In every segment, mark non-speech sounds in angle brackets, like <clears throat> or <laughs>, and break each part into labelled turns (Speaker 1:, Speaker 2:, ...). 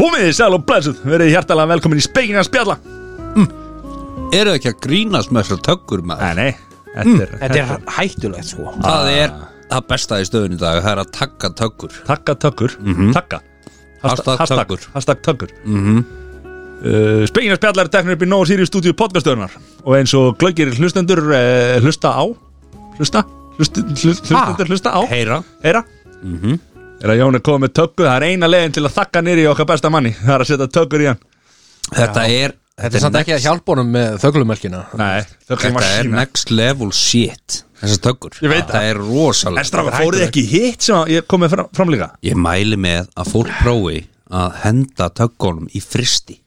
Speaker 1: Húmiði sæl og blessuð, verið hjartalega velkomin í spekinni að spjalla
Speaker 2: Eru það ekki að grínast með þessar töggur maður?
Speaker 1: Nei, nei, þetta er,
Speaker 3: Þetta er hættulegt sko
Speaker 2: Það er það besta í stöðun í dag Það er að taka töggur
Speaker 1: Takka tökur, takka
Speaker 2: Hashtag
Speaker 1: hashtag,
Speaker 2: töggur.
Speaker 1: hashtag tökur mm uh, Spengina spjallar teknir upp í Nóa Sirius stúdíu podcastöðunar og eins og glöggir hlustendur uh, hlusta á hlusta, hlusti, hlust, hlustendur hlusta á
Speaker 2: Heyra
Speaker 1: heyra er að Jón er komið með tökku, það er eina leiðin til að þakka nýri í okkar besta manni, það er að setja tökur í hann
Speaker 2: Þetta er
Speaker 3: Þetta er samt ekki að hjálpa honum með þöglumelkina
Speaker 1: Nei, tökur var
Speaker 2: Þetta er
Speaker 1: sína
Speaker 2: next level shit Þessar töggur
Speaker 1: Ég veit
Speaker 2: Þetta er
Speaker 1: En
Speaker 2: rosalega
Speaker 1: strafa, fóruð ekki í hitt sem að ég komið fram, fram líka
Speaker 2: Ég mæli með að fólk prófi að henda töggunum í fristi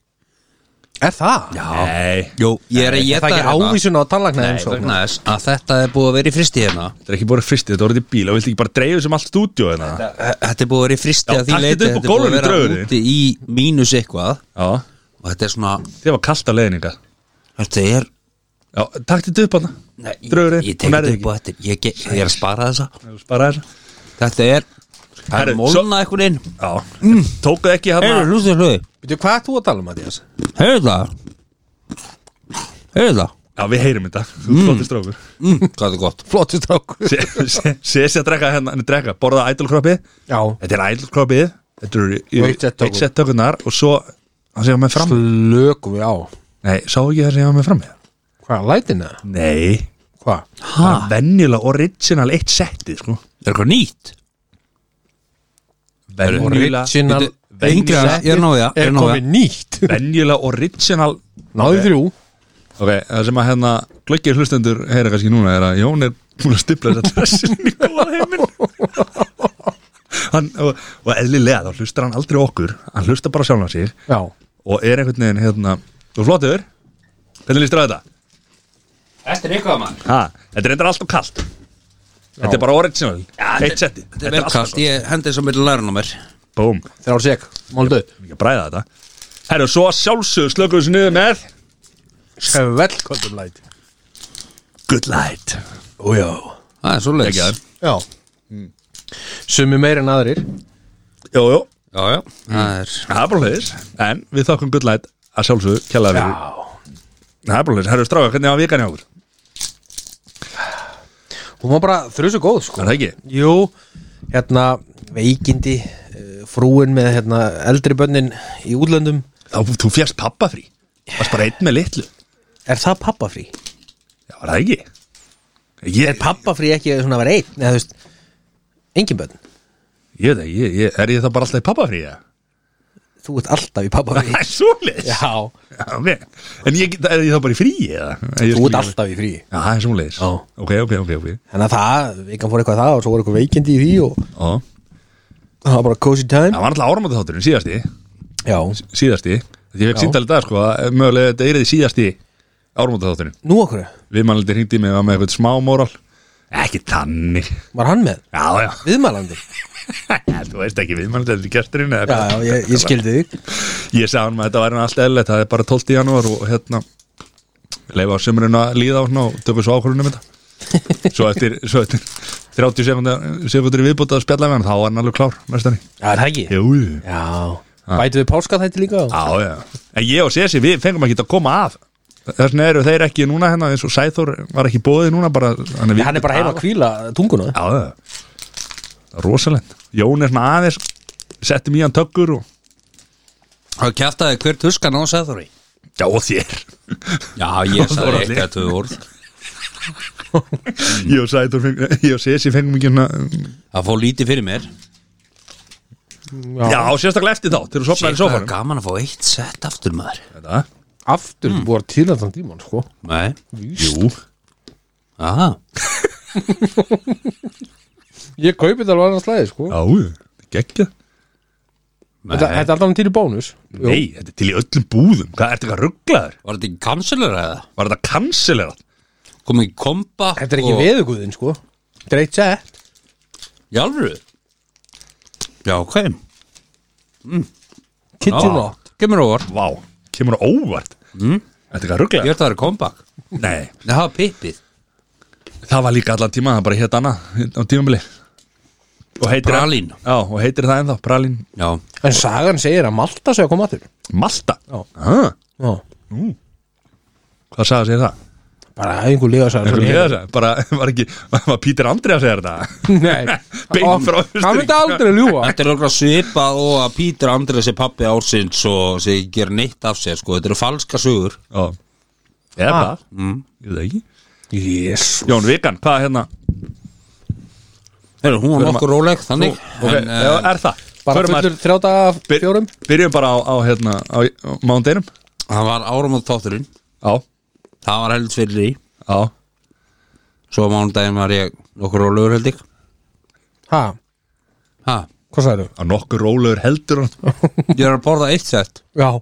Speaker 3: Er það?
Speaker 1: Nei,
Speaker 2: Jú, ég er að
Speaker 3: Er
Speaker 2: geta
Speaker 3: það ekki ávísun á tallagna eins og
Speaker 2: vegna þess að þetta er búið að vera í fristi hérna
Speaker 1: þetta er ekki bara fristi, þetta voruð í bíl og viltu ekki bara dreifið sem allt stúdíu hérna
Speaker 2: Þetta er búið að vera í fristi
Speaker 1: Já,
Speaker 2: að því
Speaker 1: taktu
Speaker 2: leiti
Speaker 1: þetta upp á
Speaker 2: Þetta er búið að
Speaker 1: gólfinu,
Speaker 2: vera
Speaker 1: draugur.
Speaker 2: úti í mínus eitthvað
Speaker 1: Já,
Speaker 2: og þetta er svona,
Speaker 1: þið var kalt að leiðninga
Speaker 2: þetta er
Speaker 1: Já, takti þetta upp hana
Speaker 2: Nei, ég,
Speaker 1: Draugurinn,
Speaker 2: ég
Speaker 1: hún
Speaker 2: tek
Speaker 1: nærði
Speaker 2: þetta upp á þetta ég, ge- ég er að spara þessa
Speaker 1: Bara þess
Speaker 2: Þetta er, það er
Speaker 1: Herru,
Speaker 2: mólna einhvern veginn
Speaker 1: Já, mm. tókuð ekki
Speaker 2: Heyrðu,
Speaker 1: hérna
Speaker 2: hlústu hlúi,
Speaker 3: Veitu, Hvað er þú að tala um, Mattias?
Speaker 2: heyrðu það Heyrðu það
Speaker 1: Já, við heyrim þetta, þú mm. flottist drókur
Speaker 2: mm, Hvað er gott
Speaker 3: Flottu strákur
Speaker 1: Sessi að drekka hérna, en drekka, borða ædolkroppið
Speaker 3: Já
Speaker 1: Þetta er ædolkroppið Þetta eru
Speaker 3: Og eitt sett tökur.
Speaker 1: sett tökurnar Og svo, það segja með fram
Speaker 3: Slökum við á
Speaker 1: Nei, sá ekki það segja með fram með
Speaker 3: Hvað, lætina?
Speaker 1: Nei,
Speaker 3: Hvað?
Speaker 1: það er venjulega original eitt settið, sko
Speaker 2: Er eitthvað nýtt?
Speaker 1: Venjulega,
Speaker 3: Original
Speaker 2: Veitu, Ingra, ég er að ná í það, ég er
Speaker 3: Er
Speaker 2: að ná í það.
Speaker 3: komið nýtt <laughs>
Speaker 1: venjulega original
Speaker 3: Náðu þrjú
Speaker 1: Ok, það sem að hérna glöggir hlustendur heyra kannski núna er að Jón er búin að stipla þess að dressin í góða heiminn hann, og, og eðlilega þá hlustar hann aldrei okkur hann hlustar bara sjálfan sig
Speaker 3: Já
Speaker 1: og er einhvern veginn hérna Þú er flottur, hvernig líst þér á þetta?
Speaker 2: Þetta er eitthvað mann
Speaker 1: Ha, þetta er reyndar alltaf kalt Þetta er bara original, eitt setti
Speaker 2: Þetta er vel kast, ég hendi þess að milli lærun á mér
Speaker 1: Búm,
Speaker 3: Þrjár sek Máldu
Speaker 1: ekki að bræða þetta Herru, svo sjálfsög slökum við sniðu með
Speaker 3: Hefur vel kvöldum læt
Speaker 1: Good light
Speaker 3: Ójá
Speaker 2: Það er svo leik Já,
Speaker 1: Gekkjaður.
Speaker 3: Já Mm. Sumi meir en aðrir
Speaker 1: Jú, jú,
Speaker 2: já, það er
Speaker 1: það er bara hlutis En við þakkum good light að sjálfsög kjallaði fyrir Það er bara leys, herru stráka, hvernig var vikan hjá okkur?
Speaker 3: Hún var bara þrjusu góð sko
Speaker 1: Er það ekki?
Speaker 3: Jú, hérna veikindi eh, frúin með hérna, eldri bönnin í útlöndum
Speaker 1: Þá, þú fjast pappa frí Varst bara einn með litlu Já,
Speaker 3: Er það pappafrí?
Speaker 1: var það ekki? Ég,
Speaker 3: Er pappafrí ekki svona að vera einn? Nei, þú veist, engin bönn
Speaker 1: ég veit ekki, ég, ég, er ég það bara alltaf í pappa frí?
Speaker 3: Þú ert alltaf í pappafrí
Speaker 1: Það er svo leys
Speaker 3: <laughs> Já,
Speaker 1: En ég, það- er ég þá bara í frí? eða? Ég
Speaker 3: þú
Speaker 1: skil
Speaker 3: ert
Speaker 1: ekki-
Speaker 3: alltaf í frí
Speaker 1: Já, það er svo leys
Speaker 3: Já.
Speaker 1: Ok, ok, ok, ok
Speaker 3: Þannig að það, vikan fór eitthvað það og svo voru eitthvað veikindi í því og
Speaker 1: Já.
Speaker 3: það var bara cozy time
Speaker 1: Það var alltaf áramönda þátturinn, síðasti
Speaker 3: Já,
Speaker 1: Síðasti Ég fekk
Speaker 3: Já.
Speaker 1: síndalið dag, sko að Mögulega þetta er þið síðasti áramönda þátturinn
Speaker 3: nú okkur,
Speaker 1: Við mannaldi hringdi mig var með eitthvað smá móral Ekki tannig
Speaker 3: var hann með?
Speaker 1: Já, já,
Speaker 3: Viðmælandi
Speaker 1: þú veist ekki við mannaldi Þetta er gesturinn eða
Speaker 3: Já,
Speaker 1: hvað?
Speaker 3: já, ég, ég skildi þig
Speaker 1: Ég sagði hann að þetta væri nú allt eðlilegt Það er bara 12. janúar og hérna leifa sömurinn að líða á hann og tökum svo ákvörðunum
Speaker 3: <laughs>
Speaker 1: þetta Svo eftir, svo eftir 30 sekundar, sekundur í viðbútað að spjalla með hann þá var hann alveg klár næstani
Speaker 3: Já, er það ekki?
Speaker 1: Jú, jú.
Speaker 3: Já, Ah, bætu Ah. við páska þetta líka? og-
Speaker 1: já, já En ég og Sessi, við fengum ekki að koma að Þess vegna eru þeir ekki núna hérna eins og Sæþór var ekki bóðið núna bara Hann
Speaker 3: Nei, Hann er bara heima að kvíla tunguna
Speaker 1: Já, já Það er Rosalegt Jón er svona aðeins Settum í hann tökkur og
Speaker 2: Það kjaftaði hver tuskan á sæðurri
Speaker 1: Já, og þér
Speaker 2: Já, ég sagði
Speaker 1: Þórhalli.
Speaker 2: eitt að tvö orð
Speaker 1: Ég og Sæþór fengum, ég og Sessi fengum ekki svona
Speaker 2: Það fór lítið fyrir mér
Speaker 1: Já, sérstaklega eftir þá, til að sopna í
Speaker 2: Sér hvað er
Speaker 1: sófanum
Speaker 2: gaman að fá eitt sett aftur maður
Speaker 1: Þetta?
Speaker 3: aftur mm. búið að til allan tíman sko.
Speaker 2: Nei,
Speaker 1: Jú
Speaker 2: aha
Speaker 3: ég kaupi þetta alveg annars slæði sko.
Speaker 1: Já, geggja
Speaker 2: Nei.
Speaker 3: þetta, þetta er allan til í bónus Jú.
Speaker 1: Nei, þetta er til í öllum búðum Hvað, ertu eitthvað rugglaður?
Speaker 2: Var þetta ekki kanselur eða?
Speaker 1: Var þetta kansilerat?
Speaker 2: Kom ekki kompa
Speaker 3: þetta er ekki
Speaker 2: og-
Speaker 3: og... veðugúðin sko. þetta er eitt sett
Speaker 2: Í alvöru? Já, ok
Speaker 3: kitchen
Speaker 2: Já,
Speaker 3: ah.
Speaker 2: Kemur óvart
Speaker 1: Vá, kemur á óvart mm? Þetta er hvað rugglega?
Speaker 2: Gjörðu það eru comeback
Speaker 1: Nei,
Speaker 2: Nei, það var pippið
Speaker 1: það var líka allan tíma, það bara hétt annað á tímabili og heitir
Speaker 2: Pralín.
Speaker 1: Já, og heitir það ennþá, Pralín
Speaker 2: Já,
Speaker 3: En sagan segir að Malta sé að koma aftur
Speaker 1: Malta
Speaker 3: Já.
Speaker 1: ah,
Speaker 3: Já
Speaker 1: Hvað sagði sér það?
Speaker 3: Bara einhver líga sagan
Speaker 1: Einhver liða sagði, Bara, <laughs> var ekki, var Pítur Andri að segja þetta?
Speaker 3: Nei
Speaker 1: <laughs> Beint frá Austurríki.
Speaker 3: Hann myndi aldrei ljúa
Speaker 2: þetta er okkur svipað og að Pítur Andrið sé pappi ársins og sé ekki gera neitt af sér sko, þetta eru falska sögur
Speaker 1: Já, eða
Speaker 3: Ah.
Speaker 1: það mm. Ég veit það ekki
Speaker 3: Jésus
Speaker 1: Jón Vikan, hvað hérna?
Speaker 2: Heru, hún var nokkuð róleg þannig
Speaker 1: Ok,
Speaker 2: en,
Speaker 1: já,
Speaker 2: uh,
Speaker 1: er það?
Speaker 3: eh, Bara
Speaker 1: Förum að-
Speaker 3: fullur þrjá daga af
Speaker 1: byr-
Speaker 3: fjórum
Speaker 1: Byrjum bara á, á hérna, á, á mándeginum
Speaker 2: það var áramóð þátturinn
Speaker 1: Já,
Speaker 2: það var heldur fyrir í
Speaker 1: já
Speaker 2: svo á mánudaginn var ég nokkuð rólegur held ég
Speaker 3: Ha,
Speaker 2: ha,
Speaker 3: hvað sagði
Speaker 1: Á nokkur rólegur heldur hann
Speaker 2: ég er að borða eitt sett
Speaker 3: Já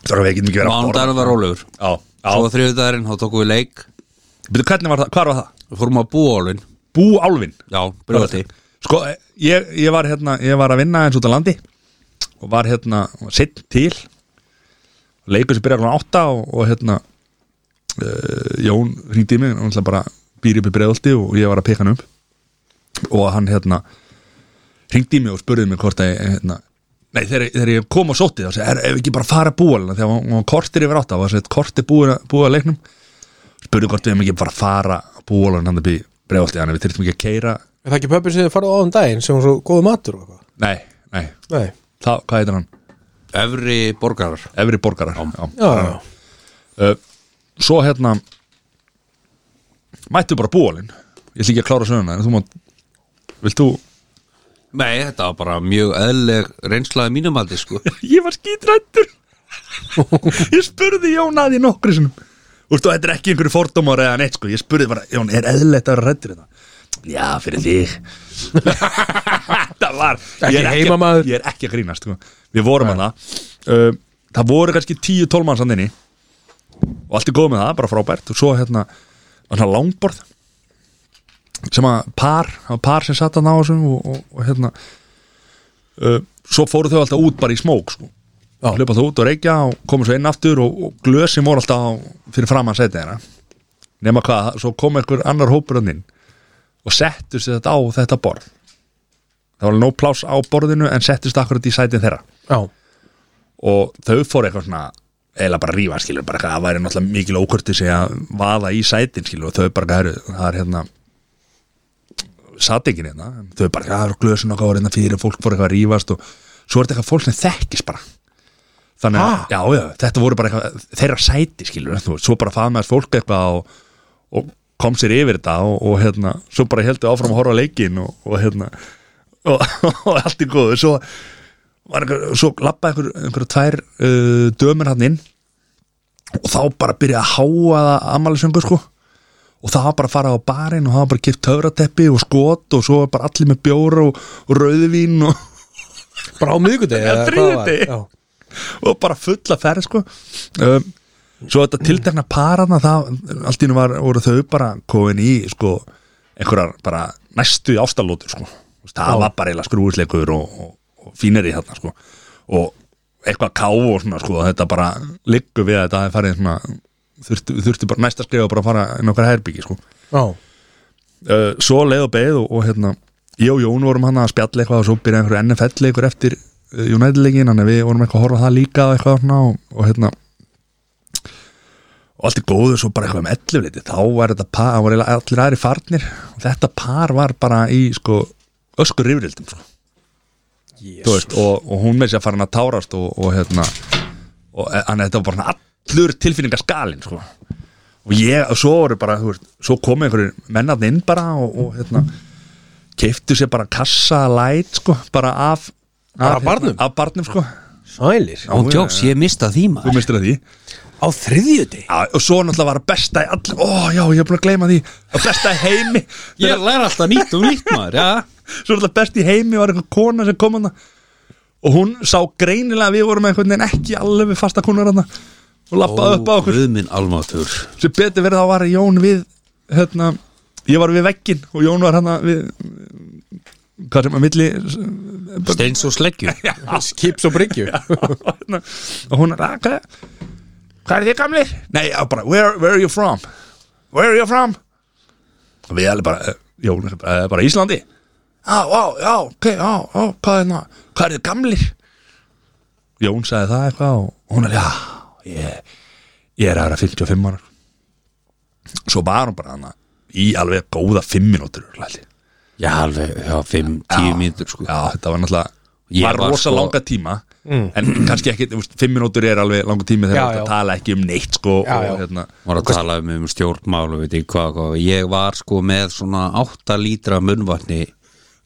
Speaker 1: Það er við ekki mikið verið að
Speaker 2: mánudaginn var rólegur
Speaker 1: Já,
Speaker 2: svo
Speaker 1: já
Speaker 2: þriðudaginn þá tókum við leik
Speaker 1: Byrju, hvernig var það? Hvar var það?
Speaker 2: við fórum að búa álun
Speaker 1: Bú Álfin
Speaker 2: já, brjóti
Speaker 1: Sko, ég, ég var hérna Ég var að vinna eins út á landi Og var hérna Sitt til Leikur sem byrjar hann átta Og, og hérna uh, Jón hringdi í mig Og hann bara býr upp í breiðolti Og ég var að peka hann upp Og hann hérna Hringdi í mig og spurði mig hvort að ég, hérna, Nei, þegar, þegar ég kom og sótti þá segi, er, ef ekki bara fara að búa Þegar hún hún var kortir yfir átta, var sett kortir búið að búa leiknum spurði hvort við hefum ekki bara að fara að búa alveg hann að byrja bregðalti þannig að við þyrftum ekki að keira
Speaker 3: Er það ekki pöppin sem þið farið á um daginn sem var svo góðu matur og eitthvað?
Speaker 1: nei, nei,
Speaker 3: Nei
Speaker 1: það, hvað heitir hann?
Speaker 2: efri borgarar
Speaker 1: Efri borgarar já.
Speaker 3: Já, já,
Speaker 1: Uh, svo hérna mættu bara búa alveg ég ætla ekki að klára söguna en þú mátt vilt þú?
Speaker 2: nei, þetta var bara mjög eðleg reynslaði mínumaldi sko
Speaker 1: ég var skítrættur ég spurði Jón að því nokkri sinum Úrstu, þetta er ekki einhverju fordómar eða neitt sko. ég spurði bara, Jón, er eðlætt að vera rættur þetta já, fyrir þig þetta var ég er
Speaker 3: Ekki heimamaður.
Speaker 1: ég er ekki að grínast sko. við vorum hana uh, það voru kannski 10-12 mann sandinni og allt er góð með það, bara frábært og svo hérna, var svona langborð sem að par það var par sem satt að ná þessum og, og, og hérna uh, svo fóru þau alltaf út bara í smók sko
Speaker 3: Já.
Speaker 1: hlupa þú út og reykja og komu svo inn aftur og, og glösin voru alltaf á, fyrir framann setja þeirra nema hvað, svo kom einhver annar hópur hann inn og settu sér þetta á þetta borð það var nóg pláss á borðinu en settust akkurat í sætin þeirra
Speaker 3: já,
Speaker 1: og þau fóru eitthvað svona eða bara að rífa skilur, bara eitthvað, það væri náttúrulega mikil ókurti sig að vaða í sætin skilur og þau bara hæru, það er hérna satt ekki hérna en þau bara, það er glösun okkar var hérna fyrir fólk fóru eitthvað að rífast og svo er þetta eitthvað fólk sem þekkist bara þannig að,
Speaker 3: Ha?
Speaker 1: já, já, þetta voru bara eitthvað þeirra sæti skilur, þú, veist, svo bara faðmaðist fólk eitthvað og, og kom sér yfir þetta og, og hérna, svo bara heldur áfram að horfa á leikin og, og hérna og, <laughs> og allt í góðu, svo var einhver, svo lappaði einhver, einhver tvær uh, dömur hann inn og þá bara byrjaði að háa það amalisöngu sko og það var bara að fara á barinn og það var bara að kipt töfrateppi og skot og svo var bara allir með bjóra og, og rauðvín og,
Speaker 3: bara á miðgudegi
Speaker 1: Já, þriðjudegi.
Speaker 3: Já,
Speaker 1: og bara fulla ferð sko um, svo þetta tiltekna parana það, allt í nú var, voru þau bara komin í sko einhverjar bara næstu í ástalótur sko Þú veist, það var bara eiginlega skrúisleikur og, og, og fínir í þarna sko og eitthvað káfu og svona sko þetta bara liggur við að þetta hafi farið svona þurfti, þurfti bara næsta skrifa bara að fara inn á okkar herbyggi sko
Speaker 3: já,
Speaker 1: uh, svo leið og beið og, og hérna ég og Jón vorum hann að spjalla eitthvað og svo byrjaði einhver NFL leikur eftir uh, United leikin þannig að við vorum eitthvað að horfa á það líka og eitthvað svona og, og hérna og allt í góðu svo bara eitthvað um 11 leiti þá var þetta par, það voru eiginlega allir aðri farnir og þetta par var bara í sko öskur rifrildum sko Þú
Speaker 3: jésus
Speaker 1: veist, og, og hún með sér farin að tárast og, og hérna og e- hann þetta var bara svona allur tilfinningaskalinn sko. og ég, og svo voru bara þú veist, svo komu einhverjir mennarni inn bara og, og hérna keiftu sér bara kassa læt sko, bara af
Speaker 3: Bara af
Speaker 1: hérna,
Speaker 3: barnum?
Speaker 1: af barnum sko.
Speaker 3: Sælir
Speaker 2: hún tjóks, ég mista því
Speaker 1: þú
Speaker 2: maður
Speaker 1: mistur að því
Speaker 3: Á þriðjudegi?
Speaker 1: Já, og svo náttúrulega var að besta í all ó já, ég er búin að gleyma því að besta í heimi
Speaker 2: ég læra alltaf nýtt um nýtt maður já.
Speaker 1: svo náttúrulega best í heimi var einhver kona sem kom hana og hún sá greinilega að við vorum einhvern veginn ekki alveg við fasta konar hana og lappaði upp á okkur
Speaker 2: Guðminn almatur
Speaker 1: sem betur verið þá var Jón við hérna, ég var við veggin og Jón var hana við hvað sem að milli
Speaker 2: Steins og sleggju
Speaker 1: Hérna.
Speaker 3: Kips og bryggju
Speaker 1: og hún er að "Ah, Hvað er þið gamlir? Nei, já, bara, where, where are you from? Where are you from? Og Við erum bara, eh, Jón er bara, eh, bara Íslandi Já, já, já, ok, já, já, hvað er það? Hvað er þið gamlir? Jón sagði það eitthvað og hún er, já, ég, ég er aðra 55 ára Svo var hún bara hana í alveg góða 5 mínútur hlæli.
Speaker 2: Já, alveg, já, 5-10
Speaker 1: Já.
Speaker 2: mínútur sko
Speaker 1: Já, þetta var náttúrulega
Speaker 2: Ég
Speaker 1: var
Speaker 2: var
Speaker 1: rosa
Speaker 2: sko- Mm.
Speaker 1: langa tíma en kannski ekki, þú veist, fimm minútur er alveg langa tími
Speaker 3: Já,
Speaker 1: þegar þetta
Speaker 3: já.
Speaker 1: tala ekki um neitt sko,
Speaker 3: Já,
Speaker 1: og
Speaker 3: já.
Speaker 1: hérna
Speaker 2: Var að tala um, um stjórnmál og veit ég hvað, hvað Ég var sko með svona 8 lítra munnvatni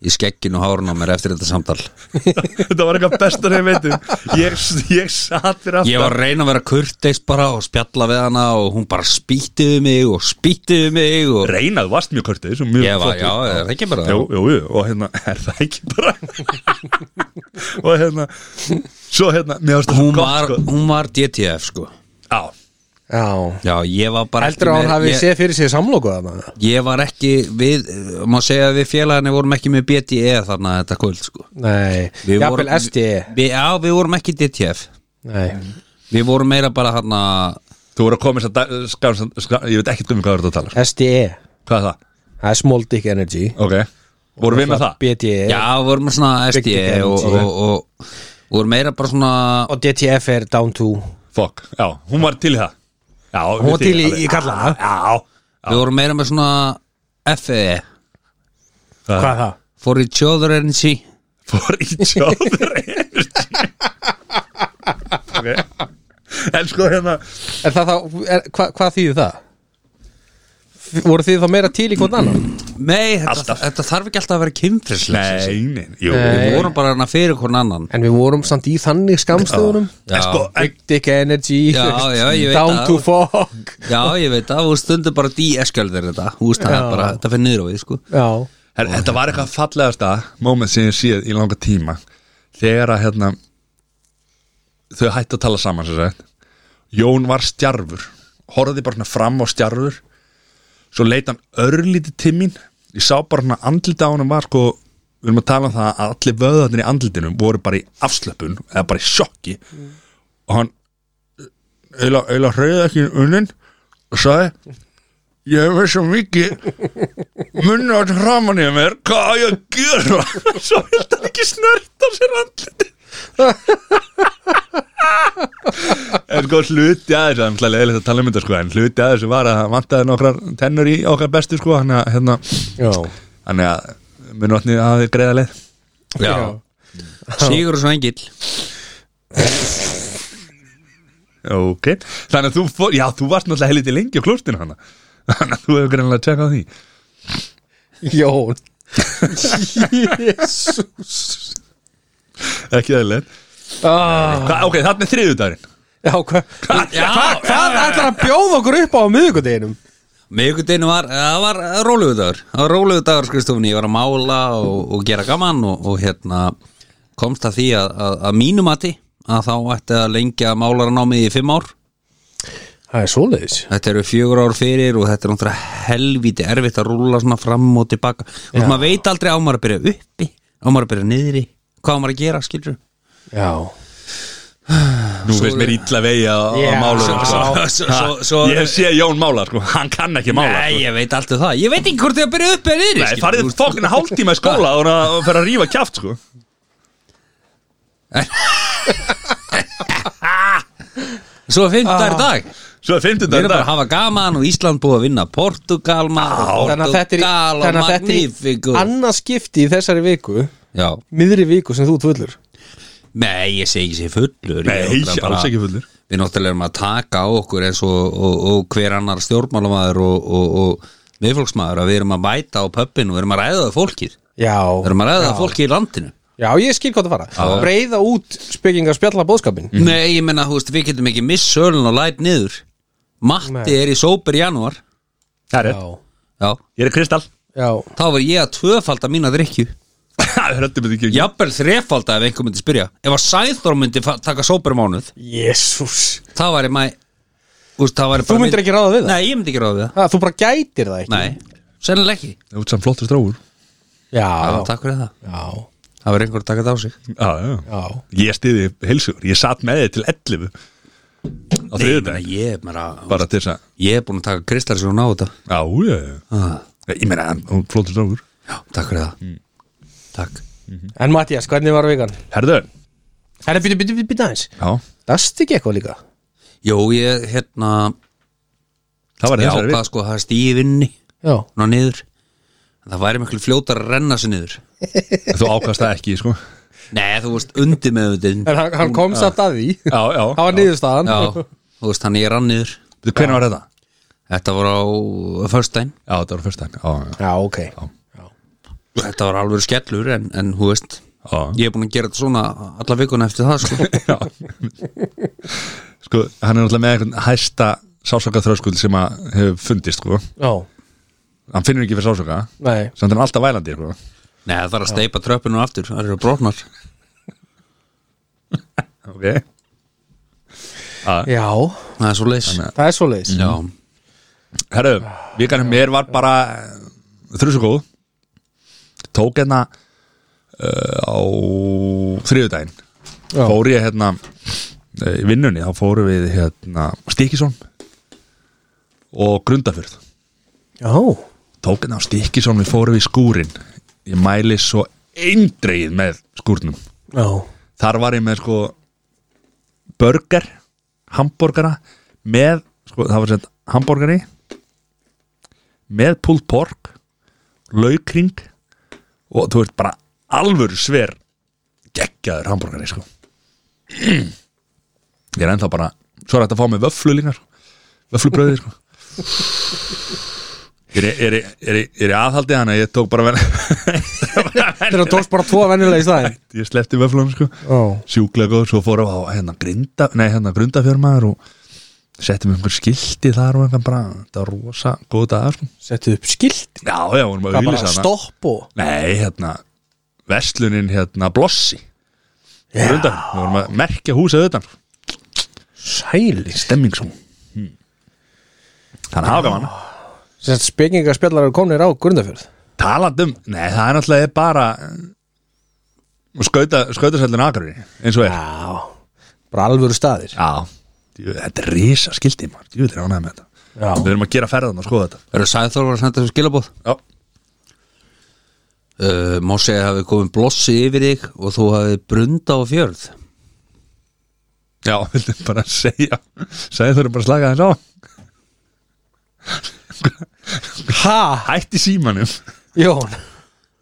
Speaker 2: í skegginu og hárun á mér eftir þetta samtal
Speaker 1: þetta var eitthvað besta sem ég veitum ég, ég satt fyrir aftan
Speaker 2: Ég var að reyna að vera kurteis bara og spjalla við hana og hún bara spýtti við mig og spýtti við mig og
Speaker 1: reynað, þú varst mjög kurtið mjög
Speaker 2: Ég var,
Speaker 1: flottur.
Speaker 2: já, er það ekki bara
Speaker 1: Jú, jú, jú, og hérna, <laughs> er það ekki bara <laughs> og hérna svo hérna, mér varst það
Speaker 2: hún,
Speaker 1: svo gott
Speaker 2: var,
Speaker 1: sko.
Speaker 2: hún var DTF sko
Speaker 1: á,
Speaker 3: Já
Speaker 2: Já, ég var bara
Speaker 3: Heldur að
Speaker 2: ekki
Speaker 3: hann hafi
Speaker 2: ég,
Speaker 3: séð fyrir sér samlóku þarna
Speaker 2: ég var ekki við, eh, má segja að við félagarnir vorum ekki með BTE þarna þetta kvöld sko
Speaker 3: Nei,
Speaker 2: Við
Speaker 3: jafnvel E.
Speaker 2: vorum-
Speaker 3: SDE
Speaker 2: við, Já, við vorum ekki DTF
Speaker 3: Nei,
Speaker 2: Við vorum meira bara þarna
Speaker 1: þú voru að koma þess að skam, skam, ég veit ekki um hvað þú ert að tala sko.
Speaker 3: SDE
Speaker 1: hvað er það?
Speaker 3: E. Það er Small Dick Energy E.
Speaker 1: ok, voru við með það?
Speaker 3: BDE
Speaker 2: Já, við vorum með svona
Speaker 3: Eh.
Speaker 2: SDE
Speaker 3: Big Dick
Speaker 2: og,
Speaker 3: Energy.
Speaker 2: og, og, og vorum meira bara svona
Speaker 3: Og DTF er down to
Speaker 1: Fuck, já, hún var til í það já,
Speaker 3: Hún var til í, í kallana
Speaker 1: Já,
Speaker 2: Við vorum meira með svona FE
Speaker 1: það
Speaker 3: Hvað er það?
Speaker 2: For each other energy
Speaker 1: for each other energy okay. en sko hérna
Speaker 3: Er það þá, er, hva, hvað þýðir það? F- Voru þið þá meira til í hvort annan?
Speaker 2: Nei, þetta,
Speaker 1: Alltaf.
Speaker 2: þetta þarf ekki alltaf að vera kynfrislega
Speaker 1: nei, nei, jú
Speaker 2: Við
Speaker 3: Nei.
Speaker 2: vorum bara hana fyrir hvern annan
Speaker 3: En við vorum samt í þannig skamstöðunum
Speaker 1: en sko, en,
Speaker 3: Big Dick Energy
Speaker 2: Já, já, ég
Speaker 3: <laughs>
Speaker 2: veit
Speaker 3: Down
Speaker 2: það.
Speaker 3: to fuck
Speaker 2: Já, ég veit það, þú stundur bara díeskjöldir þetta Þú veist það er
Speaker 3: Já.
Speaker 2: bara, þetta fyrir niður á við sko
Speaker 3: Já,
Speaker 1: her, þetta var eitthvað fallegasta moment sem ég séð í langa tíma þegar að hérna þau hættu að tala saman sem sagt Jón var stjarfur horfði bara svona fram á stjarfur svo leit hann örlítið til mín ég sá bara hann að andlita á hann var sko við erum að tala um það að allir vöðarnir í andlitinu voru bara í afslöpun eða bara í sjokki og hann eiginlega hreyði ekki unnin og sagði ég hef verið svo mikið munna að hraman í mér hvað á ég að gera <laughs> svo vildi hann ekki snörta sér andliti <laughs> en sko hluti að þessu það er leðilegt að tala um þetta sko en hluti að þessu var að hann vantaði nokkrar tennur í okkar bestu sko hann að hérna
Speaker 3: já
Speaker 1: hann að munvatni hafði greiða leið
Speaker 2: Já, Sigur og Svengill
Speaker 1: ok, þannig að þú fór, já þú varst náttúrulega helviti lengi á klostinu hana þannig að þú hefur greinlega tjekkað á því
Speaker 3: Jón Jésus
Speaker 1: ekki aðeins
Speaker 3: ah,
Speaker 1: Hva, ok, þarna er þriðudagurinn
Speaker 3: Já, hvað hva,
Speaker 2: Já,
Speaker 3: Hvað ætlar að bjóða okkur upp á miðvikudeginum?
Speaker 2: miðvikudeginu var, eh, það var rólegur dagur Það var rólegur dagur skristofunni, ég var að mála og, og gera gaman og, og hérna komst að því að, að, að mínu mati að þá ætti að lengja málaranámið í fimm ár
Speaker 3: Það er svoleiðis
Speaker 2: Þetta eru fjögur ár fyrir og þetta er náttúrulega helvíti erfitt að rúla svona fram og tilbaka og maður veit aldrei á maður að byrja uppi á maður að byrja niðri, hvað á maður að gera skilur
Speaker 3: Já
Speaker 1: Nú veist mér illa vegi á, á
Speaker 3: Já.
Speaker 1: málurum sko.
Speaker 2: svo, svo, svo, svo,
Speaker 1: Ég sé Jón mála, sko, hann kann ekki mála
Speaker 2: Nei,
Speaker 1: sko.
Speaker 2: ég veit alltaf það, ég veit ekki hvort ég að byrja uppi eða niðri
Speaker 1: Nei,
Speaker 2: skilurðu, þú
Speaker 1: farið
Speaker 2: veist.
Speaker 1: fokkin hálftíma í skóla og það fer að rífa kjáft sko.
Speaker 2: Svo
Speaker 3: Ah,
Speaker 2: fimmtar dag,
Speaker 1: Svo er
Speaker 2: við
Speaker 1: fimmtudagur
Speaker 2: erum bara að
Speaker 1: dag
Speaker 2: hafa gaman og Ísland búið að vinna Portugal maður,
Speaker 3: Þannig að þetta er,
Speaker 2: Portugal og
Speaker 3: þannig að þetta
Speaker 2: Magnífic
Speaker 3: er
Speaker 2: og-
Speaker 3: annað skipti í þessari viku
Speaker 2: Já,
Speaker 3: miðri viku sem þú ert fullur
Speaker 2: nei, ég segi ekki sér fullur ég er
Speaker 1: Nei,
Speaker 2: náttúrulega bara-
Speaker 1: alls ekki fullur
Speaker 2: við náttúrulega erum að taka á okkur eins og, og, og hver annar stjórnmálamaður og, og, og miðfólksmaður að við erum að mæta á pöppin og við erum að ræða það fólkið við
Speaker 3: Já
Speaker 2: erum að ræða það fólkið í landinu
Speaker 3: Já, ég skil hvað það fara Breiða út spekingar spjalla bóðskapin
Speaker 2: nei, ég menna, þú veist, við getum ekki miss sölun og læt niður Matti
Speaker 3: Nei.
Speaker 2: er í sóper í janúar
Speaker 1: Það er
Speaker 3: Já
Speaker 1: rétt.
Speaker 2: já,
Speaker 1: Ég er <laughs> kristall
Speaker 3: Já
Speaker 2: þá var ég að tvöfalda mína drikju
Speaker 1: Hrættum við ekki
Speaker 2: jafnvel þrefalda ef einhver myndi spyrja ef að Sæþór myndi fa- taka sóper mánuð
Speaker 3: Jésús
Speaker 2: þá var ég mæ úst, það var
Speaker 3: Þú myndir ekki ráða við það?
Speaker 2: nei, ég myndi ekki ráða við
Speaker 3: Ha, þú bara gætir það
Speaker 2: það
Speaker 3: ekki
Speaker 2: nei, sennilega ekki,
Speaker 1: Þú ert samt flottur strákur
Speaker 2: já,
Speaker 3: Já
Speaker 2: takk fyrir það
Speaker 3: Já
Speaker 2: það var einhver að taka þetta á sig
Speaker 1: Já, já
Speaker 3: Já
Speaker 1: Ég stiði heilsugur, ég satt með þið til 11 á
Speaker 2: Nei, ég meina,
Speaker 1: þriðudaginn
Speaker 2: ég er bara
Speaker 1: bara til þess að,
Speaker 2: Ég er búin að taka kristar á þetta
Speaker 1: já, já, já
Speaker 2: ah,
Speaker 1: ég meina, hann- hún flóttur strákur
Speaker 2: já, Takk fyrir það Takk
Speaker 3: En Mattias, hvernig var vikan?
Speaker 1: herðu,
Speaker 3: Herra, býtu, býtu, býtu, býtu aðeins
Speaker 1: já,
Speaker 3: Dast ekki eitthvað líka?
Speaker 2: Jó, ég, hérna
Speaker 1: það var
Speaker 2: Já,
Speaker 1: þessari
Speaker 2: hvað sko, það er stíði vinni
Speaker 3: Já
Speaker 2: Ná niður En Það væri miklu fljótar að renna sér niður
Speaker 1: við þú ákast það ekki, sko
Speaker 2: Nei, þú veist, undir með
Speaker 3: En hann, hann kom samt að því
Speaker 1: <laughs> já, já,
Speaker 3: Það var niðurstaðan
Speaker 2: Já, þú veist, hann ég rann niður
Speaker 1: hvernig var þetta?
Speaker 2: Þetta var á föstudaginn
Speaker 1: já, þetta var fyrst daginn, já, já,
Speaker 3: Já, ok
Speaker 2: Þetta var alveg skellur en, en hú veist
Speaker 1: já
Speaker 2: Ég er búin að gera þetta svona alla vikuna eftir það sko.
Speaker 1: <laughs> Já. sko, hann er náttúrulega með einhvern hæsta sásöka þröskul sem að hefur fundist, sko
Speaker 3: Já,
Speaker 1: hann finnur ekki fyrir sásöka,
Speaker 3: nei
Speaker 1: samt er hann alltaf vælandi sko.
Speaker 2: Nei, það þarf að steipa tröppinu aftur Það eru brotnar
Speaker 1: ok að,
Speaker 3: Já,
Speaker 2: Það er svo leis
Speaker 3: það er svoleiðis
Speaker 2: Já,
Speaker 1: herru, vikan mér var bara eh, þrjusu góð tók hérna uh, á þriðudaginn
Speaker 3: Já.
Speaker 1: fór ég hérna eh, í vinnunni, þá fóru við hérna Stikisson og Grundafjörð
Speaker 3: Já,
Speaker 1: tók hérna á Stikisson, við fórum í skúrin ég mæli svo eindreið með skúrnum
Speaker 3: já,
Speaker 1: þar var ég með sko burger, hambúrgara með, sko það var sett hambúrgari með pulled pork laukring og þú ert bara alvöru sver geggjaður hambúrgari sko ég er ennþá bara svo er þetta að fá mig vöflu líka sko. vöflubröði sko Ég er, er, er, er, er aðhaldið hana, ég tók bara vel <laughs>
Speaker 3: þeirra tókst bara tvo venjulega í staðin
Speaker 1: ég sleppti vöflunum sko
Speaker 3: <laughs> Já,
Speaker 1: sjúklega góð, svo fórum við á hérna grinda, nei hérna grundafjörmaður og settum einhver skilti þar og einhver bara, þetta var rosa góð dag sko.
Speaker 3: settu upp skilt
Speaker 1: já, já, vorum að
Speaker 3: Það bara
Speaker 1: auglýsa hana
Speaker 3: stopp og
Speaker 1: nei, hérna, vestlunin hérna, blossi
Speaker 3: Já.
Speaker 1: grundafjörn, við vorum að merkja húsið utan
Speaker 3: Sæli sko.
Speaker 1: stemmingsum hmm. þannig hafa gaman
Speaker 3: Sett spekingarspjallar eru komnir á Grundafjörð
Speaker 1: talandum, um, nei, það er náttúrulega bara og skauta, skautasællin akkurir, eins og er
Speaker 3: Já Bara alvöru staðir
Speaker 1: já, Djú, þetta er risa skilti maður, djú, þetta er ánægð með þetta
Speaker 3: Já,
Speaker 1: við erum að gera ferðan og skoða þetta
Speaker 2: eru sæðþorvar að senda þessu skilabóð
Speaker 1: já
Speaker 2: uh, Má segja að hafi komið blossi yfir þig og þú hafi brunda á fjörð
Speaker 1: Já, <laughs> viltu bara segja Segðu þú eru bara að slaka þess á
Speaker 3: ha,
Speaker 1: Hætti símanum
Speaker 3: Jón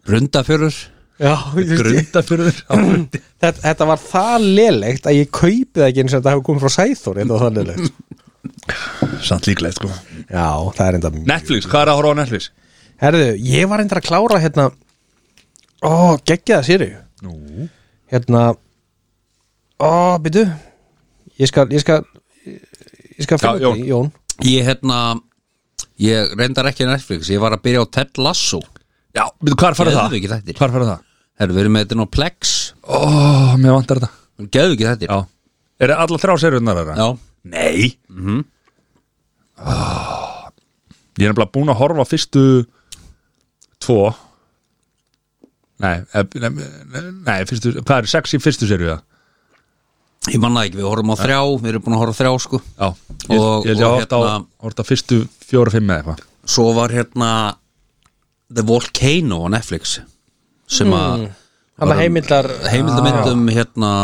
Speaker 2: Brunda fjörður
Speaker 3: Já, ég veist,
Speaker 1: Grunda fyrir þér
Speaker 3: þetta, þetta var það lélegt að ég kaupi það ekki eins og þetta hefur komið frá Sæþór Þetta var það lélegt
Speaker 1: Samt líklegt sko
Speaker 3: Já, það er enda mjög
Speaker 1: Netflix, hvað er að horfa á Netflix?
Speaker 3: Herðu, ég var enda að klára hérna Ó, geggjaða sýri
Speaker 1: Nú
Speaker 3: Hérna Ó, byrju Ég skal, ég skal Ég skal
Speaker 1: Já,
Speaker 3: finna upp í- Jón
Speaker 2: Ég hérna Ég reyndar ekki Netflix, ég var að byrja á Ted Lasso
Speaker 1: Já, veitu, hvað er farið það?
Speaker 2: Geðveikir þættir.
Speaker 1: Hvað er farið það?
Speaker 2: Herru, við erum með þetta nú Plex
Speaker 1: Ó, mér vantar þetta
Speaker 2: Gæðu ekki þetta
Speaker 1: Já Er það alla þrjá seriunar þeirra?
Speaker 2: Já.
Speaker 1: Nei mm Ég er nefnilega búin að horfa á fyrstu Tvo Nei, eh, nei, nei fyrstu, hvað er sex í fyrstu serið það?
Speaker 2: Ég manna ekki, við horfum á þrjá, við erum búin að horfa á þrjá sko
Speaker 1: Já, ég,
Speaker 2: Og-
Speaker 1: ég, ég
Speaker 2: og
Speaker 1: hort á,
Speaker 2: hérna-
Speaker 1: hort á fyrstu fjóra, fimm eða eitthvað
Speaker 2: Svo var hérna The Volcano á Netflix sem að
Speaker 3: Hanna heimildar
Speaker 2: heimildamindum hérna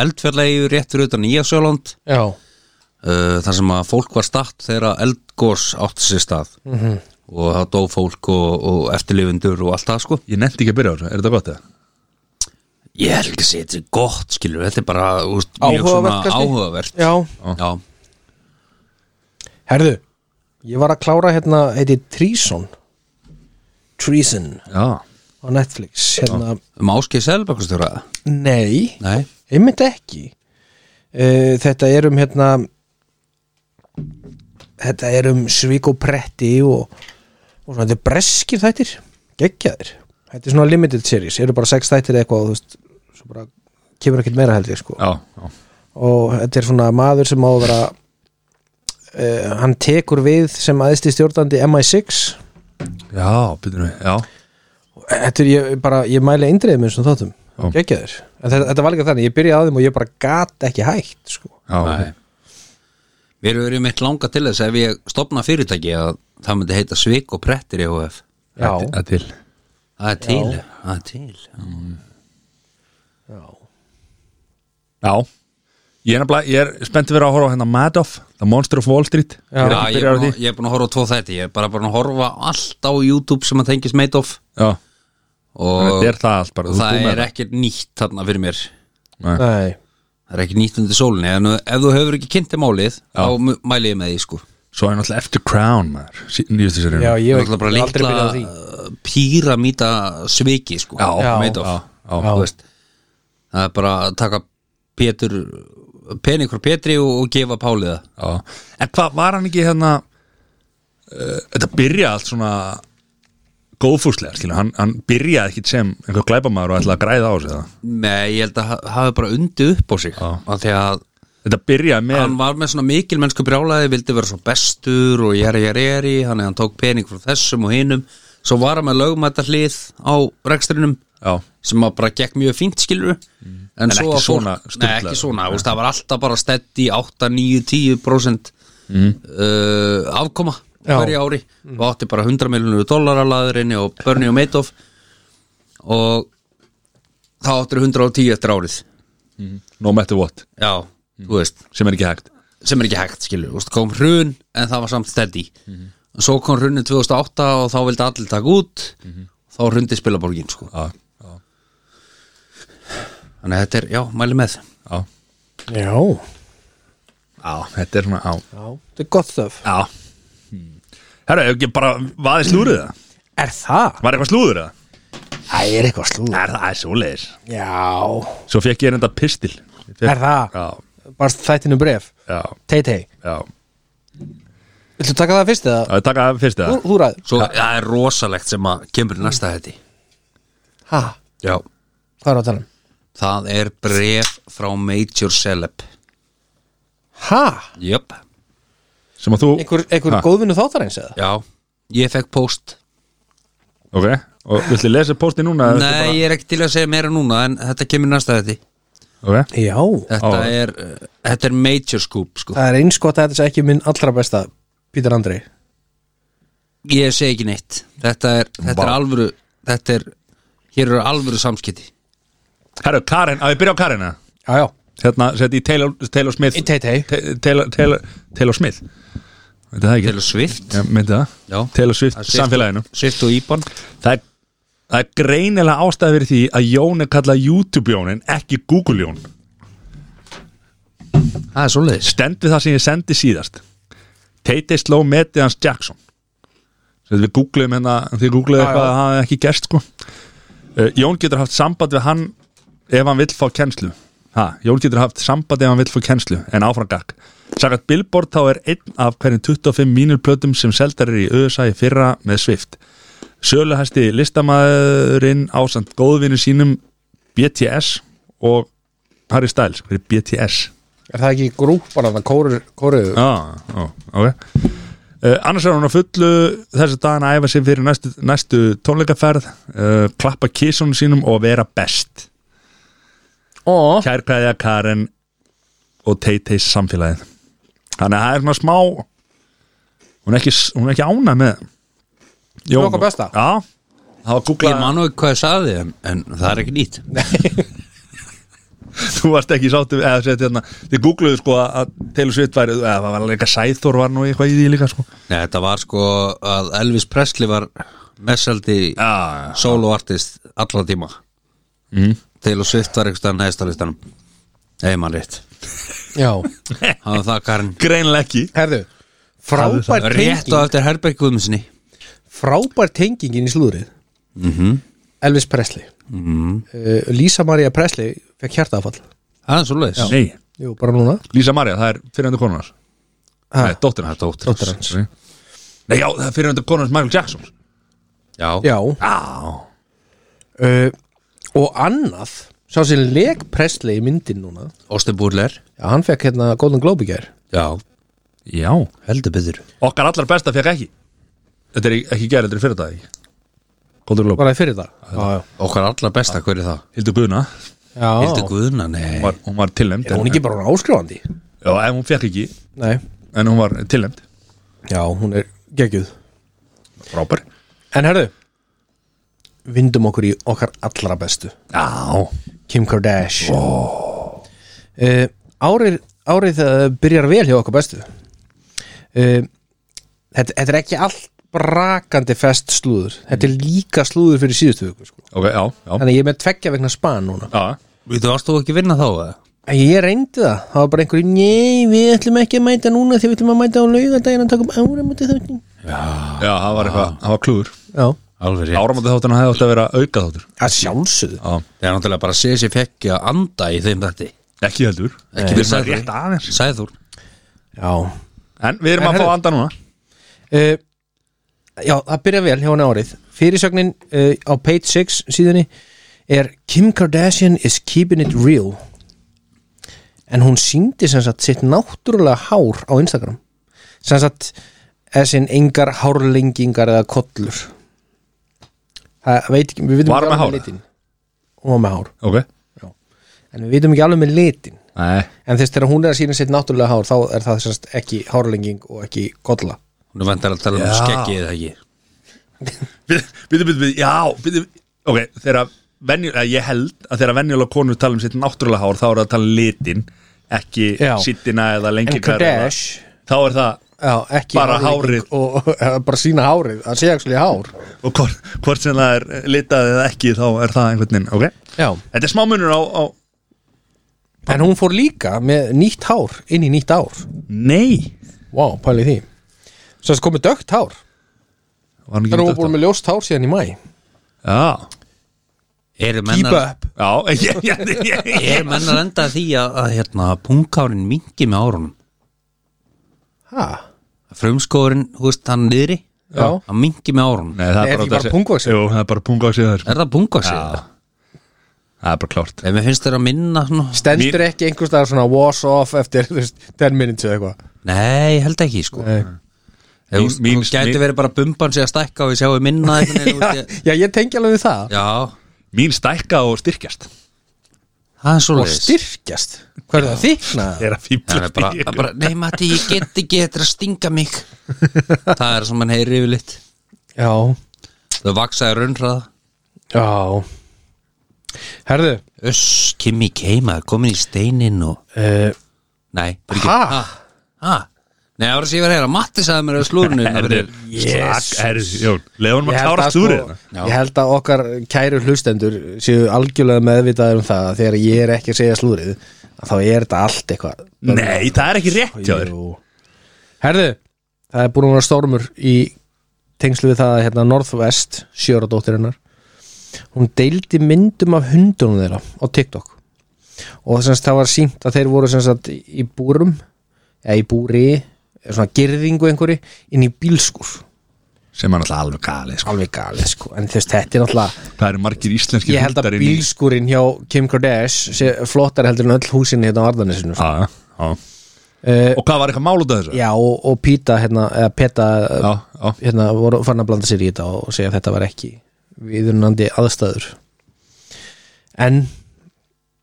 Speaker 2: eldfjallegju rétt fyrir utan Íasjóland
Speaker 3: Já,
Speaker 2: uh, þar sem að fólk var statt þegar eldgós átti sér stað -hmm. og það dó fólk og, og eftirlifundur og allt það sko
Speaker 1: Ég nefndi ekki að byrja á þessu, er þetta gott eða?
Speaker 2: Ég held ekki að segja þetta er gott skilur, þetta er bara úst,
Speaker 3: Áhugavert kannski?
Speaker 2: áhugavert
Speaker 3: já
Speaker 2: Já.
Speaker 3: Herðu, ég var að klára hérna Heiti Treason Treason
Speaker 1: Já,
Speaker 3: á Netflix Hérna,
Speaker 2: Um áskeið selbakastjóra
Speaker 3: nei
Speaker 2: Nei,
Speaker 3: einmitt ekki uh, þetta er um hérna þetta er um svík og pretti og, og svona þetta er breskir þættir geggjaðir, þetta er svona limited series eru bara sex þættir eða eitthvað og þú veist, svo bara kemur ekkert meira held ég sko
Speaker 1: já, já,
Speaker 3: og þetta er svona maður sem á að vera uh, hann tekur við sem aðisti stjórnandi MI6
Speaker 1: já, byrjum við, já
Speaker 3: þetta er ég bara, ég mæli eindriðið með svona þáttum
Speaker 1: Já.
Speaker 3: geggjaðir, en þetta, þetta var líka þannig ég byrjaði að þeim og ég bara gat ekki hægt sko
Speaker 1: Já,
Speaker 2: Nei.
Speaker 1: ok.
Speaker 2: Við erum mitt langa til þess ef ég stopna fyrirtæki að það myndi heita Svik og Prettir EHF
Speaker 3: Já,
Speaker 1: Það er til
Speaker 2: Það er til, það er til
Speaker 3: já.
Speaker 1: Já Ég er, nefnilega- ég er spennt fyrir að horfa á hérna Madoff The Monster of Wall Street Ég er
Speaker 3: Já.
Speaker 2: Já,
Speaker 1: ekki
Speaker 2: ég,
Speaker 1: byrjar á
Speaker 2: er búin
Speaker 1: því
Speaker 2: að- ég er búin að horfa á tvo þætti Ég er bara búin að horfa á allt á YouTube sem að tengist Madoff
Speaker 1: Já,
Speaker 2: og
Speaker 1: þetta er það allt bara þú ert
Speaker 2: það
Speaker 1: búinn með
Speaker 2: er ekkert nýtt þarna fyrir mér
Speaker 1: Nei.
Speaker 3: Nei,
Speaker 2: Það er ekkert nýtt undir sólinni en uh, ef þú hefur ekki kynnt þér málið þá mu- mæli ég með því sko
Speaker 1: Svo er náttúrulega After Crown maður, sí- nýjustu serið
Speaker 3: já, ég
Speaker 2: Það er
Speaker 3: hef
Speaker 2: náttúrulega bara
Speaker 3: aldrei byrjað á því
Speaker 2: líkla píramíta sviki sko
Speaker 1: Já,
Speaker 3: Já.
Speaker 2: Madoff
Speaker 1: já, já.
Speaker 2: Þú veist, Það er bara að taka Pétur pening frá Pétri og, og gefa Páli það
Speaker 1: Já. En hvað var hann ekki hérna uh, Þetta byrja allt svona góðfúslega, skilja hann, hann byrjaði ekki sem einhver glæpamaður og ætlaði að græða á sig það
Speaker 2: Nei, ég held að ha- hafi bara undi upp á sig
Speaker 1: Já.
Speaker 2: af því að
Speaker 1: Þetta byrjaði með
Speaker 2: hann var með svona mikil mennsku brjálaði vildi vera svo bestur og jæri jæri jæri hann, hann tók pening frá þessum og hinum svo var hann með lögumæta hlið á rekstrinum
Speaker 1: Já,
Speaker 2: sem að bara gekk mjög fínt skilur en,
Speaker 1: Mm. En
Speaker 2: svo
Speaker 1: ekki
Speaker 2: að fólk,
Speaker 1: svona
Speaker 2: nei,
Speaker 1: sturlað.
Speaker 2: ekki svona þú veist, það var alltaf bara steddi 8, 9, 10 prósent
Speaker 1: Mm.
Speaker 2: uh, afkoma
Speaker 3: Já.
Speaker 2: hverju ári og átti bara 100 miljonur dólarar laðurinni og Bernie og Madoff og þá áttir 110 eftir árið
Speaker 1: no matter what,
Speaker 2: já,
Speaker 1: Mm.
Speaker 2: þú veist
Speaker 1: sem er ekki hægt
Speaker 2: sem er ekki hægt skilur, þú veist, kom hrun en það var samt steddi
Speaker 1: Mhm.
Speaker 2: svo kom hrunin 2008 og þá vildi allir taka út
Speaker 1: Mhm.
Speaker 2: þá hrundi spilaborgin sko.
Speaker 1: Já, já,
Speaker 2: þannig að þetta er, já, mæli með
Speaker 1: já,
Speaker 3: Já,
Speaker 1: já Þetta er svona, já
Speaker 3: já, þetta er gott þöf
Speaker 1: Já Herra, ef ekki bara, hvað er slúrið það?
Speaker 3: Er það?
Speaker 1: Var eitthvað slúður það?
Speaker 3: Það er eitthvað slúð
Speaker 1: Er það er svoleiðis
Speaker 3: Já,
Speaker 1: Svo fekk ég enda pistil ég fekk,
Speaker 3: Er það?
Speaker 1: Já,
Speaker 3: bara þættinu bref
Speaker 1: já,
Speaker 3: Tei-tei,
Speaker 1: já
Speaker 3: viltu taka það fyrst eða?
Speaker 1: Það er taka það fyrst
Speaker 3: Þú,
Speaker 1: eða?
Speaker 3: þú ræður
Speaker 2: svo það er rosalegt sem að kemur í næsta hætti
Speaker 3: Ha,
Speaker 2: já.
Speaker 3: hvað er á um? tannum?
Speaker 2: það er bref frá Major Celeb
Speaker 3: Ha,
Speaker 2: jöp,
Speaker 1: Sem að þú
Speaker 3: einhver, einhver
Speaker 1: Ha.
Speaker 3: góðvinnu þáttarins eða?
Speaker 2: já, ég fekk post
Speaker 1: Ok, og viltu lesa posti núna? eða viltu
Speaker 2: nei, ég er ekki til að segja meira núna en þetta kemur í næsta hætti
Speaker 1: bara- Ok,
Speaker 3: Já,
Speaker 2: þetta
Speaker 1: Á.
Speaker 2: er, uh, þetta er Major Scoop sko.
Speaker 3: það er eins gott að þetta sé ekki minn allra besta Pítur Andri
Speaker 2: ég segi ekki neitt þetta er, þetta er
Speaker 1: Vá.
Speaker 2: alvöru þetta er, hér eru alvöru samskipti
Speaker 1: herra, Karin, á ég byrja á Karina
Speaker 3: Já, já,
Speaker 1: Hérna, seti í Taylor, Taylor Smith
Speaker 3: Í Tay-Tay.
Speaker 1: Te- Taylor, Taylor, Taylor Smith Veit það ekki?
Speaker 2: Taylor Swift
Speaker 1: Já, myndi það?
Speaker 2: Já.
Speaker 1: Taylor Swift,
Speaker 2: Það er
Speaker 1: samfélaginu
Speaker 2: Swift og Íbon
Speaker 1: það er, það er greinilega ástæði fyrir því að Jón er kallað YouTube-Jón en ekki Google-Jón
Speaker 2: það er svoleiðis
Speaker 1: stend við það sem ég sendi síðast Tate sló metið hans Jackson sem við googluðum hérna því googluðum
Speaker 3: Já, já.
Speaker 1: eitthvað að það hafði ekki gerst sko. uh, Jón getur haft samband við hann ef hann vill fá kennslu ha, Jón getur haft samband ef hann vill fá kennslu en áfram gakk Sagat Billboard þá er einn af hverjum 25 mínulplötum sem seldar er í USA í fyrra með Swift Söluhæsti listamaðurinn ásand góðvinu sínum BTS og Harry Styles, hver er BTS?
Speaker 3: er það ekki grúpar að það kóru, kóru
Speaker 1: Já, já, ok Uh, annars er hún á fullu þessi daginn að æfa sig fyrir næstu, næstu tónleikaferð uh, klappa kísunum sínum og vera best
Speaker 3: Ó,
Speaker 1: kærkæðja Karen og Tay-Tay samfélagið þannig að það er svona smá hún er ekki, hún er ekki ána með Jó,
Speaker 3: okkar besta.
Speaker 1: Já, það var
Speaker 2: ég
Speaker 1: googlað
Speaker 2: man nú ekki hvað ég saði en, en það er ekki nýtt
Speaker 1: <laughs> þú varst ekki sáttu eða sett hérna, þið googluðu sko að Taylor Swift væri, eða það var líka Sæþór var nú eitthvað í því líka sko
Speaker 2: Nei, þetta var sko að Elvis Presley var messaldi
Speaker 1: Já,
Speaker 2: soloartist allra tíma
Speaker 1: Mm.
Speaker 2: Taylor Swift var eitthvað neðstalistanum eða mann rétt
Speaker 3: já
Speaker 2: hann var það Karin
Speaker 1: greinlega ekki
Speaker 3: Herðu, frábær
Speaker 2: rétt
Speaker 3: tenging
Speaker 2: og eftir Herberg Guðmundsinni
Speaker 3: Frábær tengingin í slúðrið
Speaker 2: mm -hmm.
Speaker 3: Elvis Presley uh, Lisa Maria Presley fekk hjartaðafall
Speaker 2: það er svoleiðis
Speaker 1: Nei,
Speaker 3: Jú, bara núna
Speaker 1: Lísa Marja, það er fyrirhundu konunars
Speaker 3: Ha.
Speaker 1: Nei, dóttir hans
Speaker 2: Dóttir hans.
Speaker 1: Sorry. Nei, já, það er fyrirhundu konunars Michael Jackson
Speaker 2: Já.
Speaker 3: Já,
Speaker 1: Já
Speaker 3: uh, og annað sá sem leik Presley í myndin núna
Speaker 2: Austin Butler
Speaker 3: já, hann fekk hérna Golden Globe í gær
Speaker 2: Já,
Speaker 1: Já
Speaker 2: heldur byggður
Speaker 1: Okkar allar besta fekk ekki Þetta er ekki gerð, þetta er fyrir dag Kóldur Glób
Speaker 3: var það fyrir það já, já.
Speaker 2: Okkar allra besta, hver er það?
Speaker 1: Hildur Guðna
Speaker 2: Hildur
Speaker 3: Já.
Speaker 2: Guðna, nei
Speaker 1: var, Hún var tilnæmd
Speaker 3: er hún ekki bara áskrifandi
Speaker 1: Já, ef hún fekk ekki
Speaker 3: nei,
Speaker 1: en hún var tilnæmt
Speaker 3: Já, hún er geggjuð
Speaker 1: Frábær
Speaker 3: En herðu Vindum okkur í okkar allra bestu
Speaker 1: Já
Speaker 3: Kim Kardashian oh. Árið Árið það byrjar vel hjá okkar bestu uh, þetta, þetta er ekki allt brakandi fest slúður Þetta er líka slúður fyrir síðustu viku sko.
Speaker 1: Ok, já, já,
Speaker 3: Þannig að ég er með tveggja vegna span núna
Speaker 1: já.
Speaker 2: Við þú varst þú ekki að vinna þá eða?
Speaker 3: En Ég reyndi það, það var bara einhverjum Nei, við ætlum ekki að mæta núna því við ætlum að mæta á laugardaginn að taka um áramóti þáttin
Speaker 1: já, það var eitthvað, það var klúður
Speaker 3: Já,
Speaker 2: Alveg rétt
Speaker 1: Áramóti þáttan hefði átt að vera auka þáttur
Speaker 3: að sjálfsögðu
Speaker 1: Já,
Speaker 2: Það er náttúrulega bara að segja sér fekk að anda í þeim þetta
Speaker 1: ekki heldur Við
Speaker 2: Ekki við
Speaker 1: erum að
Speaker 2: sagði-
Speaker 1: rétt aðeins
Speaker 2: Sæður
Speaker 3: Já
Speaker 1: En við erum
Speaker 3: En
Speaker 1: að fá
Speaker 3: heyrðu-
Speaker 1: anda núna
Speaker 3: uh, Já, það byrja vel hjá hann árið Fyrirsögnin uh, á page 6 síðunni er Kim Kardashian is keeping it real En hún síndi sem sagt sitt náttúrulega hár á Instagram sem sagt þessin engar hárlengingar eða kollur Það veit ekki, við vitum
Speaker 1: Var
Speaker 3: ekki
Speaker 1: með
Speaker 3: alveg
Speaker 1: hár?
Speaker 3: litinn. Hún var með hár
Speaker 1: Ok
Speaker 3: en við vitum ekki alveg með litin
Speaker 1: Nei
Speaker 3: en þess þegar hún er að sína sitt náttúrulega hár þá er það semst ekki hárlenging og ekki kolla
Speaker 2: Hún er vendar að tala um
Speaker 1: Já.
Speaker 2: skeggið eða ekki
Speaker 1: Býtu, býtu, býtu, býtu, já, býtu Ok, þegar venjulega, ég held að þegar venjulega konur tala um sitt náttúrulega hár þá er það að tala um litin, ekki
Speaker 3: Já.
Speaker 1: sittina eða lengi
Speaker 3: en Kardash
Speaker 1: Þá er það,
Speaker 3: já, ekki
Speaker 1: Bara
Speaker 3: hárlenging og, og, bara sína hárið, það sé ekki hár
Speaker 1: og hvort, hvort sem það er litað eða ekki, þá er það einhvern veginn, ok?
Speaker 3: já.
Speaker 1: Þetta er smá munur á, á
Speaker 3: en hún fór líka með nýtt hár inn í nýtt ár
Speaker 1: Nei
Speaker 3: wow, pælið því semst komið dögt hár
Speaker 1: Var hann ekki
Speaker 3: þannig
Speaker 1: með
Speaker 3: að hún búin
Speaker 1: þetta?
Speaker 3: með ljóst hár síðan í mæ
Speaker 1: Já,
Speaker 2: Eru
Speaker 3: keep
Speaker 2: mennar
Speaker 3: up
Speaker 1: já, <laughs> ég, ég, ég, ég
Speaker 2: Eru mennar enda því að, að hérna, punkárin mingi með árunum
Speaker 3: ha,
Speaker 2: Frumskórin, hú veist, hann niðri
Speaker 3: já,
Speaker 2: Hann mingi með árunum
Speaker 1: Nei, það
Speaker 3: Nei, er
Speaker 1: er
Speaker 3: ekki
Speaker 1: bara,
Speaker 3: bara pungvaxið?
Speaker 1: Jú, það er bara pungvaxið þar
Speaker 2: Er það punkási?
Speaker 1: Já. Það er bara klárt
Speaker 2: Ef mér finnst þér að minna svona
Speaker 3: stendur ekki einhvers staðar svona wash off eftir þú veist, 10 minutes eða eitthvað
Speaker 2: Nei, ég held ekki sko
Speaker 3: Nei.
Speaker 2: Ef
Speaker 1: Mín-
Speaker 2: Þú
Speaker 1: mín-
Speaker 2: mín, gæti
Speaker 1: mín-
Speaker 2: verið bara bumban sig að stækka og ég sjáu minna einhvern veginn, þú veist,
Speaker 3: <laughs> já, ég tengi alveg við það
Speaker 2: ég- Já,
Speaker 1: Mín stækka og styrkjast
Speaker 2: það er svo
Speaker 3: og styrkjast hvað er það þykna
Speaker 1: Ég er að fíbla
Speaker 2: Það er bara, það er bara nei Matti, ég get ekki þetta er að stinga
Speaker 1: <laughs>
Speaker 2: mig Það er sem hann heyri yfir litt
Speaker 3: já,
Speaker 2: Þau vaksaði raunrað
Speaker 3: já herðu
Speaker 2: Öss, Kimi keima, komin í steinin og
Speaker 3: uh,
Speaker 2: Nei, fyrir
Speaker 3: Ha?
Speaker 2: ekki Ha? Nei, það var að sé ég var að heyra Matti sagði mér að slúrinu
Speaker 1: <laughs> Herðu, slag, herðu, Jón Leðan
Speaker 3: ég,
Speaker 1: maður
Speaker 3: held
Speaker 1: klára
Speaker 3: að
Speaker 1: stúrið
Speaker 3: sko,
Speaker 1: hérna.
Speaker 3: ég held að okkar kæru hlustendur séu algjörlega meðvitaður um það að þegar ég er ekki að segja slúrið að þá er þetta allt eitthvað
Speaker 1: Nei, það er ekki rétt hjá þér
Speaker 3: Jú. herðu, það er búin að vera stormur í tengslu við það að hérna Northwest, sjöradóttirinnar hún deildi myndum af hundunum þeirra á TikTok og semst, það var sínt að þeir voru semst, í búrum eða í búri, eða svona girðingu einhverju inn í bílskur
Speaker 1: Sem er alltaf alveg gali sko.
Speaker 3: alveg galið sko, en þú veist, þetta er náttúrulega
Speaker 1: Það eru margir íslenski
Speaker 3: ég held að bílskurinn hjá Kim Kardashian sé flottar heldur en öll húsinni hérna á Arðanesinu sko.
Speaker 1: Já, já
Speaker 3: uh,
Speaker 1: Og hvað var eitthvað mál út af þessu?
Speaker 3: já, og, og Pita hérna, eða Peta
Speaker 1: Já, já
Speaker 3: hérna, voru farin að blanda sér í þetta og segja að þetta var ekki viðunandi aðstæður en,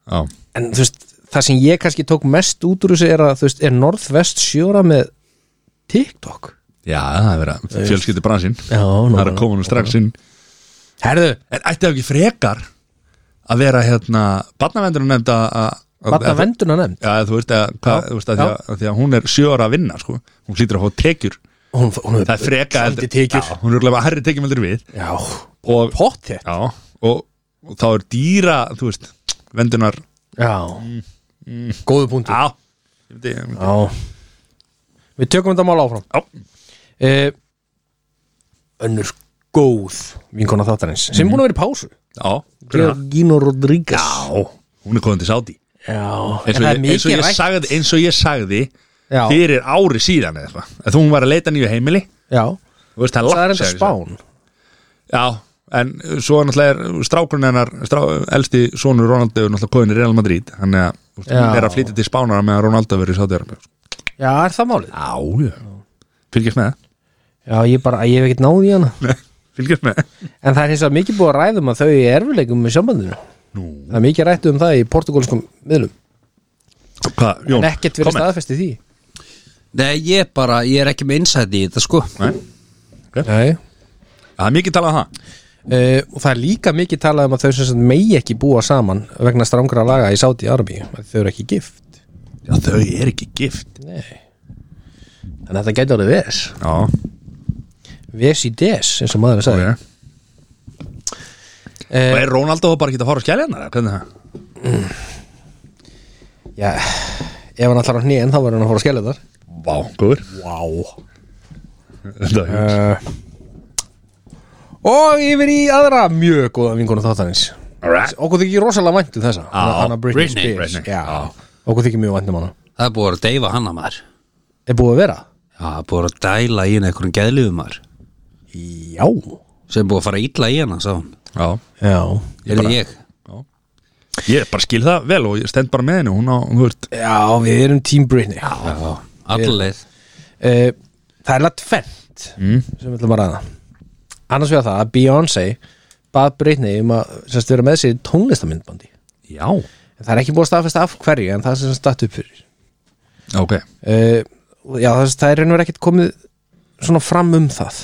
Speaker 1: Já,
Speaker 3: en þú veist, það sem ég kannski tók mest út úr þessu er að, þú veist, er Norðvest sjóra með TikTok
Speaker 1: já það er verið að fjölskyldi bransinn
Speaker 3: Já, nú-
Speaker 1: Það er að koma nú strax inn
Speaker 3: herðu,
Speaker 1: En ætti það ekki frekar að vera hérna Barnavendurinn nefnd að að-
Speaker 3: batna venduna nefnd
Speaker 1: Já, þú veist að, hva,
Speaker 3: Já,
Speaker 1: þú veist að, því
Speaker 3: já.
Speaker 1: að, að því að hún er sjö ára að vinna sko. hún hlýtur að fá tekjur
Speaker 3: hún, hún
Speaker 1: það er freka
Speaker 3: Svolítið tekjur.
Speaker 1: já, hún er alveg að herri tekjum heldur en við
Speaker 3: já,
Speaker 1: og,
Speaker 3: pottet
Speaker 1: já, og, og þá er dýra þú veist, vendunar
Speaker 3: Já, góðu punktu
Speaker 1: já, ég veit ég-
Speaker 3: Já Við tökum þetta mál áfram
Speaker 1: Já.
Speaker 3: eh, Önnur góð vinkona þáttarins sem búin að vera í pásu
Speaker 1: já, hver er það?
Speaker 3: Gino Rodríguez
Speaker 1: já, hún er komin til Saudi
Speaker 3: Já, en
Speaker 1: eins og,
Speaker 3: það er
Speaker 1: ég, eins, og
Speaker 3: mikið
Speaker 1: ég
Speaker 3: rætt
Speaker 1: sagði, eins og ég sagði
Speaker 3: Já.
Speaker 1: fyrir ári síðan eða eitthvað, að hún var að leita nýju heimili
Speaker 3: Já,
Speaker 1: Þú veist, það er
Speaker 3: það er
Speaker 1: langt
Speaker 3: enda
Speaker 1: síðan,
Speaker 3: spán
Speaker 1: Já, en uh, svo er náttúrulega er strákurinn hennar, strá, elsti sonur Ronaldo er náttúrulega kóðin í Real Madrid hann er, þú veist,
Speaker 3: Já.
Speaker 1: hún er að flytja til Spánara meðan Ronaldo verið í Sátiðar
Speaker 3: Já, er það málið?
Speaker 1: Já, já, fylgjast með <laughs>
Speaker 3: Já, ég bara, ég hef ekkert náð í hana
Speaker 1: það Fylgjast með það
Speaker 3: En það er hins vegar mikið búið að ræða um að þau er erfileikum með sambandinu
Speaker 1: Nú,
Speaker 3: Það er mikið rætt um það í portugalskum miðlum
Speaker 1: hvað, Jón,
Speaker 3: En ekkert verið staðfesti því
Speaker 2: Nei, ég bara, ég er ekki með innsæti í þetta sko
Speaker 1: Nei.
Speaker 3: Nei
Speaker 1: Það er mikið talað um það
Speaker 3: Uh, og það er líka mikið talað um að þau sem sagt megi ekki búa saman vegna strangra laga í Sáti Arabíu þau eru ekki gift
Speaker 1: Já, þau er ekki gift
Speaker 3: en þetta gæti orðið ves
Speaker 1: Já,
Speaker 3: ves í des eins og maður sagði
Speaker 1: ok
Speaker 3: Eh,
Speaker 1: Og er Rónaldó bara ekki að fara á skæli hennar? eða Hvernig er það?
Speaker 3: já, ef hann allar á hnén þá verður hann að fóra að skella þar
Speaker 1: Vá, Eh. góður <laughs>
Speaker 3: wow.
Speaker 1: Þetta er-
Speaker 3: uh, og yfir í aðra mjög góða vinkonu þáttanins
Speaker 1: Alright.
Speaker 3: okkur þykir rosalega vænt um þessa
Speaker 1: Á,
Speaker 3: hana Britney, Ah.
Speaker 2: Britney,
Speaker 3: Spears
Speaker 1: Britney, á.
Speaker 3: Já, okkur þykir mjög vænt um hana
Speaker 2: Það er búið að deyfa hana maður Já,
Speaker 3: er búið að vera?
Speaker 2: það er búið að dæla í henni einhverjum geðliðum maður
Speaker 3: já
Speaker 2: sem er búið að fara illa í hana, sá hún
Speaker 1: Já,
Speaker 3: já,
Speaker 2: Er það ég?
Speaker 1: ég bara skil það vel og ég stend bara með henni Hún á, þú veist
Speaker 3: já við erum Team Britney já
Speaker 2: Já, allaveg
Speaker 3: Eh, Það er lagt fendt sem við ætlum að ræða annars vegar það að Beyoncé bað Britney um að semst, vera með sér í tónlistamindbandi
Speaker 1: Já,
Speaker 3: en það er ekki búið að staðfesta af hverju en það er sem statt upp fyrir
Speaker 1: ok
Speaker 3: uh, Já, það, það er reynur ekkert komið svona fram um það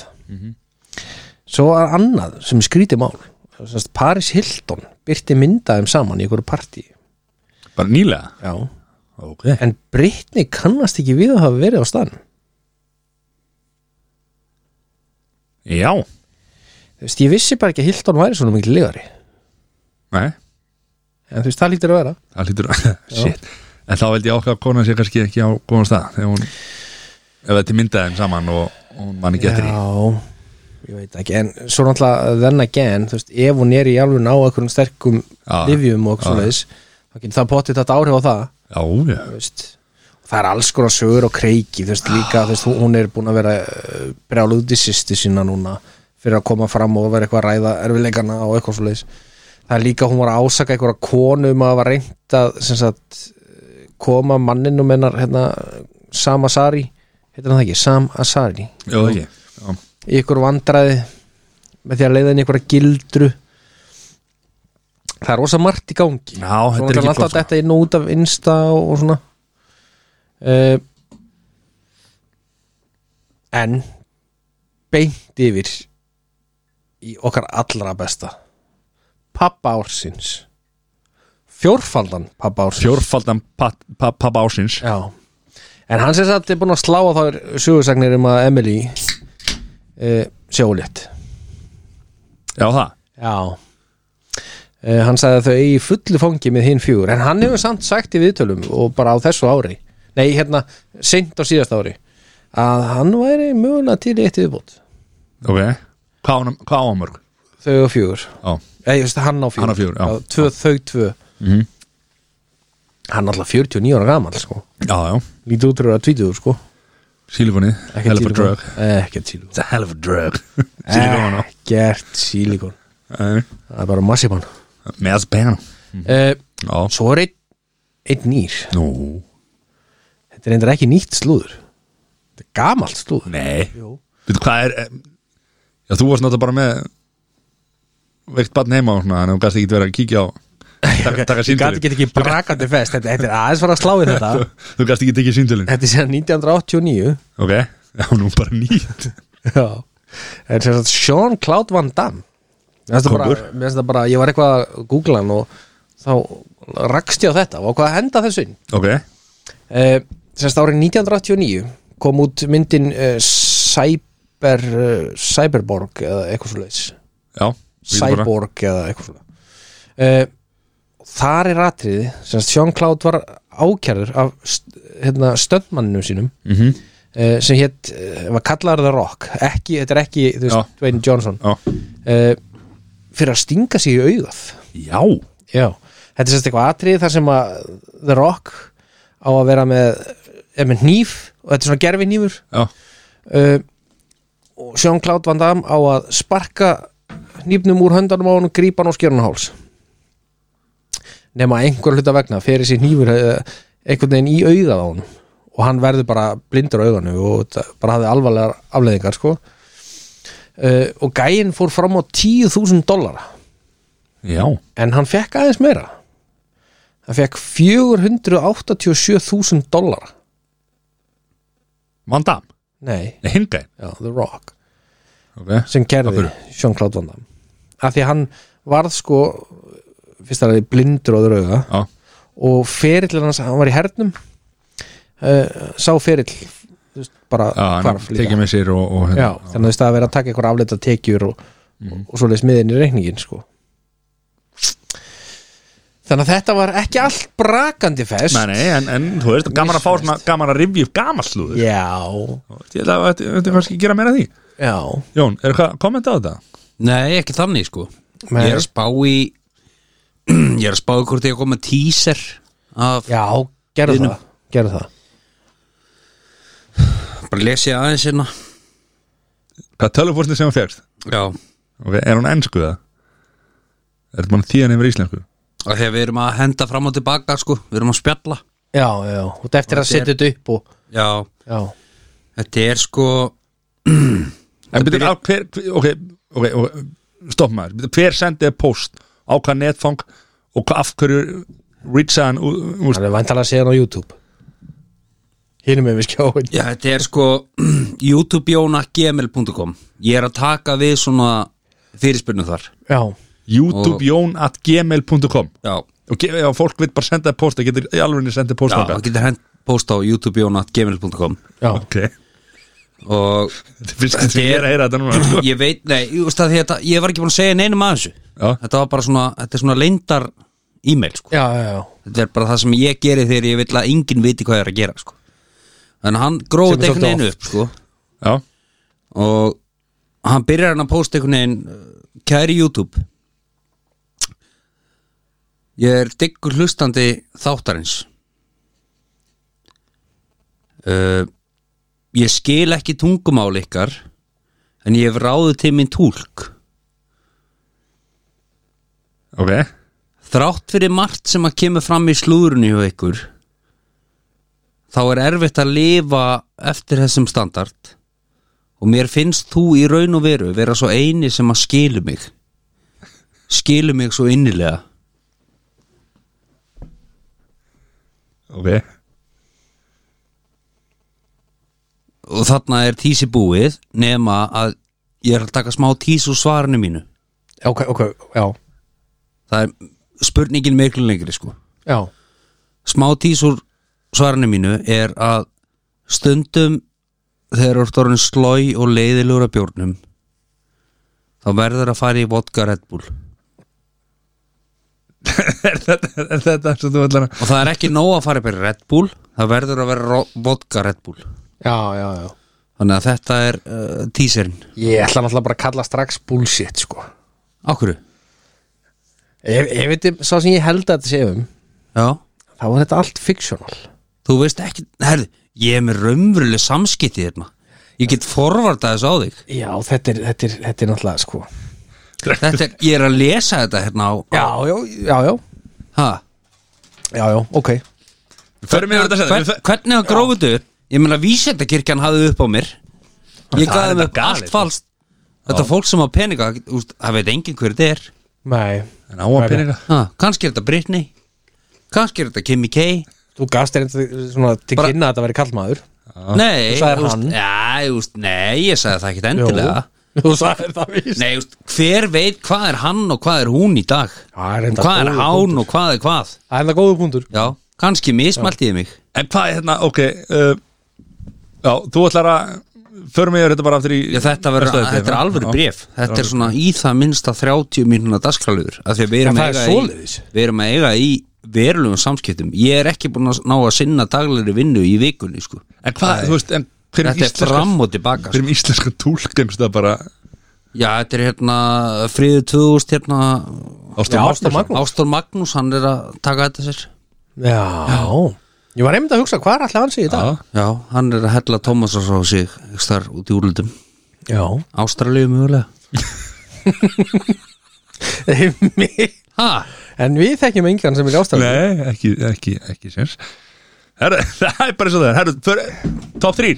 Speaker 3: Svo er annað sem skrítið mál semst, Paris Hilton byrti myndaðum saman í einhverju partí
Speaker 1: Bara nýlega
Speaker 3: Já.
Speaker 1: Ok
Speaker 3: en Britney kannast ekki við að hafa verið á staðnum
Speaker 1: Já,
Speaker 3: Þú veist, ég vissi bara ekki að Hilton væri svona mikil legari
Speaker 1: nei,
Speaker 3: en þú veist, það lítur að vera
Speaker 1: það lítur <laughs> Shit, en þá veldi ég ákveða að konan sé kannski ekki á góðan stað Þegar hún, ef þetta myndaði þeim saman og, og hún mann ekki eftir í
Speaker 3: Já, ég veit ekki En svo náttúrulega then again þú veist, Ef hún er í alveg ná einhverjum sterkum
Speaker 1: Já,
Speaker 3: livjum og okkur svoleiðis þá getur það potið þetta áhrif á það
Speaker 1: Já, já,
Speaker 3: þú veist. Og Það er alls konar sögur og kreiki þú veist, líka, þú veist, hún- Hún er búin að vera eh, brjáluð út í sýsti sína núna fyrir að koma fram og vera eitthvað að ræða erfileikana og eitthvað svoleiðis Það er líka hún var að ásaka einhverja konu um að var reynd að sem sagt, eh, koma manninum hennar hérna, Sam Asari heitir hann það ekki, Sam Asari
Speaker 1: já, ekki Já,
Speaker 3: í ykkur vandræði með því að leiða inn í ykkur gildru það er rosa margt í gangi
Speaker 1: Já, þetta er
Speaker 3: Svo
Speaker 1: ekki
Speaker 3: alltaf
Speaker 1: gott, sko.
Speaker 3: þetta inn og út af insta og, og svona uh, en beint yfir í okkar allra besta pappa ársins fjórfaldan pappa ársins
Speaker 1: fjórfaldan pappa ásins
Speaker 3: Já En hann sem sagt er búin að slá á þær sögursagnir um að Emily uh, sé ólétt
Speaker 1: Já, það
Speaker 3: Já uh, Hann sagði að þau eigi í fullu fangi með hinn fjögur En hann hefur samt sagt í viðtölum og bara á þessu ári Nei, hérna, seint á síðast ári að hann væri mögulega til í eitt viðbót
Speaker 1: Ok, hvað á hann- hvað á hann mörg?
Speaker 3: Þau og fjögur
Speaker 1: Já,
Speaker 3: Nei, ég veist, hann á fjögur,
Speaker 1: Hann á fjögur, já.
Speaker 3: tvö, Þau tvö
Speaker 1: Mhm.
Speaker 3: Hann er alltaf 49 ára gamal, sko
Speaker 1: já, já,
Speaker 3: Lítið útrúður að tvítuður, sko
Speaker 1: sílikonið Hell of a
Speaker 3: sílikon.
Speaker 1: drug
Speaker 3: Ekkert sílikon
Speaker 1: It's a hell of a <laughs> drug Sílikon á
Speaker 3: Ekkert sílikon Það er bara massipan mm.
Speaker 1: Eh. Með að spenna Já,
Speaker 3: Svo er einn ein nýr
Speaker 1: nú,
Speaker 3: Þetta er endur ekki nýtt slúður Þetta er gamalt slúður
Speaker 1: nei
Speaker 3: Jú.
Speaker 1: Veitu hvað er em, Já, þú varst náttúrulega bara með veikt barn heima og svona en þú gæst ekki verið að kíkja á taka, taka
Speaker 3: Ég gæti
Speaker 1: síndölin
Speaker 3: ekki ekki brakandi fest Þetta, þetta er aðeins fara
Speaker 1: <laughs>
Speaker 3: að slá í þetta
Speaker 1: Þú gæst ekki tekið síndölin
Speaker 3: Þetta er sér 1989
Speaker 1: Ok, já, nú bara nýtt
Speaker 3: Já Þetta er sér Sean Cloud Van Damme Mér finnst það bara,
Speaker 1: Kóngur.
Speaker 3: mér finnst það bara, ég var eitthvað að googla hann og þá rakst ég á þetta og hvað að henda þessu inn
Speaker 1: Ok,
Speaker 3: Eh, Sérst árið 1989 kom út myndin uh, Cyber, uh, Cyberborg eða eitthvað svo leiðis
Speaker 1: já við bara-
Speaker 3: Cyborg eða eitthvað svo uh, Þar er atriði sérst Sean Cloud var ákjærður af st hérna, stöndmanninum sínum
Speaker 1: Mhm.
Speaker 3: uh, sem hétt, uh, var kallaður The Rock ekki, þetta er ekki, þú veist, Dwayne Johnson
Speaker 1: Já,
Speaker 3: uh, fyrir að stinga sig í augað
Speaker 1: já,
Speaker 3: Já, þetta er sérst eitthvað atrið þar sem að The Rock á að vera með, er með hníf og þetta er svona gerfi hnífur
Speaker 1: já.
Speaker 3: uh, og Sean Cloud Van Damme á að sparka hnífnum úr höndanum á hann og grípa hann og skera hann á háls nema einhver hluta vegna fyrir sér hnífur uh, einhvern veginn í augað á hann og hann verður bara blindur á auganu og þetta bara hafði alvarlegar afleðingar sko uh, og gæinn fór fram á 10.000 dollara
Speaker 1: Já,
Speaker 3: en hann fekk aðeins meira hann fekk 487.000 dollara
Speaker 1: Van Damme, Eh,
Speaker 3: nei,
Speaker 1: nei hinga
Speaker 3: já, The Rock
Speaker 1: okay.
Speaker 3: sem gerði
Speaker 1: Af
Speaker 3: Jean-Claude Van Damme af því að hann varð sko fyrst að það er blindur á drauga
Speaker 1: Já.
Speaker 3: og ferill hans, hann var í hernum uh, sá ferill þú veist, bara
Speaker 1: Já, hann
Speaker 3: hvarf líka.
Speaker 1: tekið með sér og, hérna. og
Speaker 3: Já, þannig að þú veist að vera að taka eitthvað afleita tekjur og,
Speaker 1: Mhm.
Speaker 3: og svoleiðis miðin í reikningin sko. Þannig að þetta var ekki allt brakandi fest
Speaker 1: Nei, nei, en, en þú veist, gaman að fá svona, gaman að rifja upp gamalslúður
Speaker 3: Já,
Speaker 1: Ég ætla að þetta- þetta er kannski að gera meira af því
Speaker 3: já
Speaker 1: Jón, er eitthvað að kommenta á þetta?
Speaker 2: Nei, ekki þannig sko
Speaker 3: Nei.
Speaker 2: Ég er að spá í <clears throat> Ég er að spá í hvort ég að koma með teaser af,
Speaker 3: Já, gerðu
Speaker 2: Viðnum.
Speaker 3: það, gerðu það.
Speaker 2: Bara lesi ég aðeins hérna
Speaker 1: Hvað tölvupóstin sem hann fegst?
Speaker 2: Já
Speaker 1: Okay, er hún ennsku það? Er þetta mann þýðan yfir íslensku?
Speaker 2: Og þegar við erum að henda fram og tilbaka sko Við erum að spjalla
Speaker 3: Já, já, og þetta eftir
Speaker 2: þetta
Speaker 3: að
Speaker 2: er-
Speaker 3: setja þetta upp og,
Speaker 2: Já,
Speaker 3: já,
Speaker 2: þetta er sko
Speaker 1: En byrja, á, hver, hver, ok, ok, ok, stopp maður Byrju, Hver sendið post á hvað netfang og hvað af hverju Richard, úst,
Speaker 3: hann er væntalega að segja hann á YouTube Hinum með við skjáin
Speaker 2: Já, þetta er sko <clears throat> youtubejón.gmail.com Ég er að taka við svona fyrirspyrnum þar
Speaker 3: Já,
Speaker 1: youtubejón.gmail.com
Speaker 2: Já,
Speaker 1: og ge- ef fólk vil bara senda post það getur í alveg sendið post
Speaker 2: já
Speaker 1: þangað.
Speaker 2: það getur hend posta á youtubejón.gmail.com
Speaker 3: já,
Speaker 1: ok
Speaker 2: Og
Speaker 1: Þetta finnst þetta sem ég er að heyra þetta núna sko.
Speaker 2: ég veit, nei, þú veist að þetta, ég var ekki búin að segja neinum að þessu
Speaker 1: Já.
Speaker 2: Þetta var bara svona, þetta er svona leindar e-mail sko.
Speaker 3: já, já, já.
Speaker 2: Þetta er bara það sem ég geri þegar ég vil að enginn viti hvað ég er að gera sko. Þannig að hann gróði
Speaker 3: Sem er
Speaker 2: þetta einhvern
Speaker 3: svolítið
Speaker 2: veginn upp sko.
Speaker 1: Já,
Speaker 2: og hann byrjar hann að posta einhvern veginn uh, kæri YouTube ég er diggur hlustandi þáttarins uh, ég skil ekki tungumál ykkar en ég hef ráðið til minn túlk
Speaker 1: ok
Speaker 2: þrátt fyrir margt sem að kemur fram í slúðrunni hjá ykkur þá er erfitt að lifa eftir þessum standard og mér finnst þú í raun og veru vera svo eini sem að skilu mig skilu mig svo innilega
Speaker 1: Ok
Speaker 2: og þarna er tísi búið nema að ég er að taka smá tís úr svarinu mínu
Speaker 3: Ok, ok, já,
Speaker 2: það er spurningin miklu lengri sko
Speaker 3: já
Speaker 2: smá tís úr svarinu mínu er að stundum þegar þú ert orðin slói og leiðilegur að bjórnum þá verður að fara í vodka Red Bull og
Speaker 1: <laughs> er þetta, er þetta sem þú ætlar að
Speaker 2: það er ekki nóg að fara upp í Red Bull það verður að vera ro- vodka Red Bull
Speaker 3: Já, já, já
Speaker 2: þannig að þetta er uh, tíserinn
Speaker 3: Ég ætla náttúrulega bara að kalla strax bullshit sko
Speaker 2: Ákvörðu?
Speaker 3: Ef, ef þetta er sá sem ég held að þetta sé um
Speaker 2: Já
Speaker 3: þá er þetta allt fictional
Speaker 2: Þú veist ekki, herði, ég er með raunveruleg samskipti hérna Ég get forvartað þessu á þig
Speaker 3: Já, þetta er, þetta er, þetta er náttúrulega sko
Speaker 2: Þetta er, ég er að lesa þetta hérna á
Speaker 3: Já, já, já, já,
Speaker 2: ha,
Speaker 3: já, já, ok
Speaker 1: Förum við þetta að
Speaker 2: Hvern,
Speaker 1: segja
Speaker 2: Hvernig að grófuðu? Ég meina vísendakirkjan hafði upp á mér Ég
Speaker 1: Það er
Speaker 2: gæði
Speaker 1: þetta
Speaker 2: með
Speaker 1: galið,
Speaker 2: allt falskt Þetta fólk sem á peninga, úst, það veit enginn hver þetta er
Speaker 3: Nei,
Speaker 1: En á að peninga
Speaker 2: ha, Kannski er þetta Britney Kannski er þetta Kimi K
Speaker 3: þú gafst þér einhver- svona til
Speaker 2: Bara-
Speaker 3: kynna að þetta veri kallmaður
Speaker 2: Nei,
Speaker 3: Þú sagðir
Speaker 2: úst,
Speaker 3: hann.
Speaker 2: ja, úst, nei, ég sagði það ekkit endilega
Speaker 3: Þú sagðir það víst
Speaker 2: Nei, úst, hver veit hvað er hann og hvað er hún í dag
Speaker 3: Það er
Speaker 2: Og
Speaker 3: enda
Speaker 2: Hvað er
Speaker 3: góður
Speaker 2: hán og hvað er hvað
Speaker 3: Það er það góðu punktur
Speaker 2: Já, kannski mismælti ég mig
Speaker 1: En hvað er hérna, ok uh, Já, þú ætlar að Förum við þetta bara aftur í
Speaker 2: Já, þetta, verður,
Speaker 1: Næsta
Speaker 2: þetta er
Speaker 1: já.
Speaker 2: alvöru
Speaker 1: Já.
Speaker 2: bref Þetta er svona í það minnsta 30 mínuna dagskráluður Af því að við erum, að
Speaker 3: Já, það er
Speaker 2: eiga
Speaker 3: svoleiðis.
Speaker 2: í, við erum að eiga í verulegum samskiptum Ég er ekki búin að ná að sinna daglegri vinnu í vikunni sko.
Speaker 1: En hvað, þú veist, en hver er
Speaker 2: Þetta er
Speaker 1: íslenska
Speaker 2: fram og tilbaka
Speaker 1: Hver
Speaker 2: sko.
Speaker 1: er íslenska tólkengst það bara
Speaker 2: Já, þetta er hérna friðu 2000 hérna,
Speaker 3: Já,
Speaker 1: Ástóð
Speaker 3: Ásta Magnús
Speaker 2: Ástór Magnús, hann er að taka þetta sér
Speaker 3: Já, ég var einmitt að hugsa hvað er alltaf hann sé í dag
Speaker 2: Já, hann er að hella Thomas á sig einhvers staðar út í úrlutum
Speaker 3: Já
Speaker 2: Ástralíu mögulega Ha?
Speaker 3: <laughs> En við þekkjum engan sem er ástæður
Speaker 1: Nei, ekki, ekki, ekki séns Herru, <laughs> það er bara svo það er Herru, för, top 3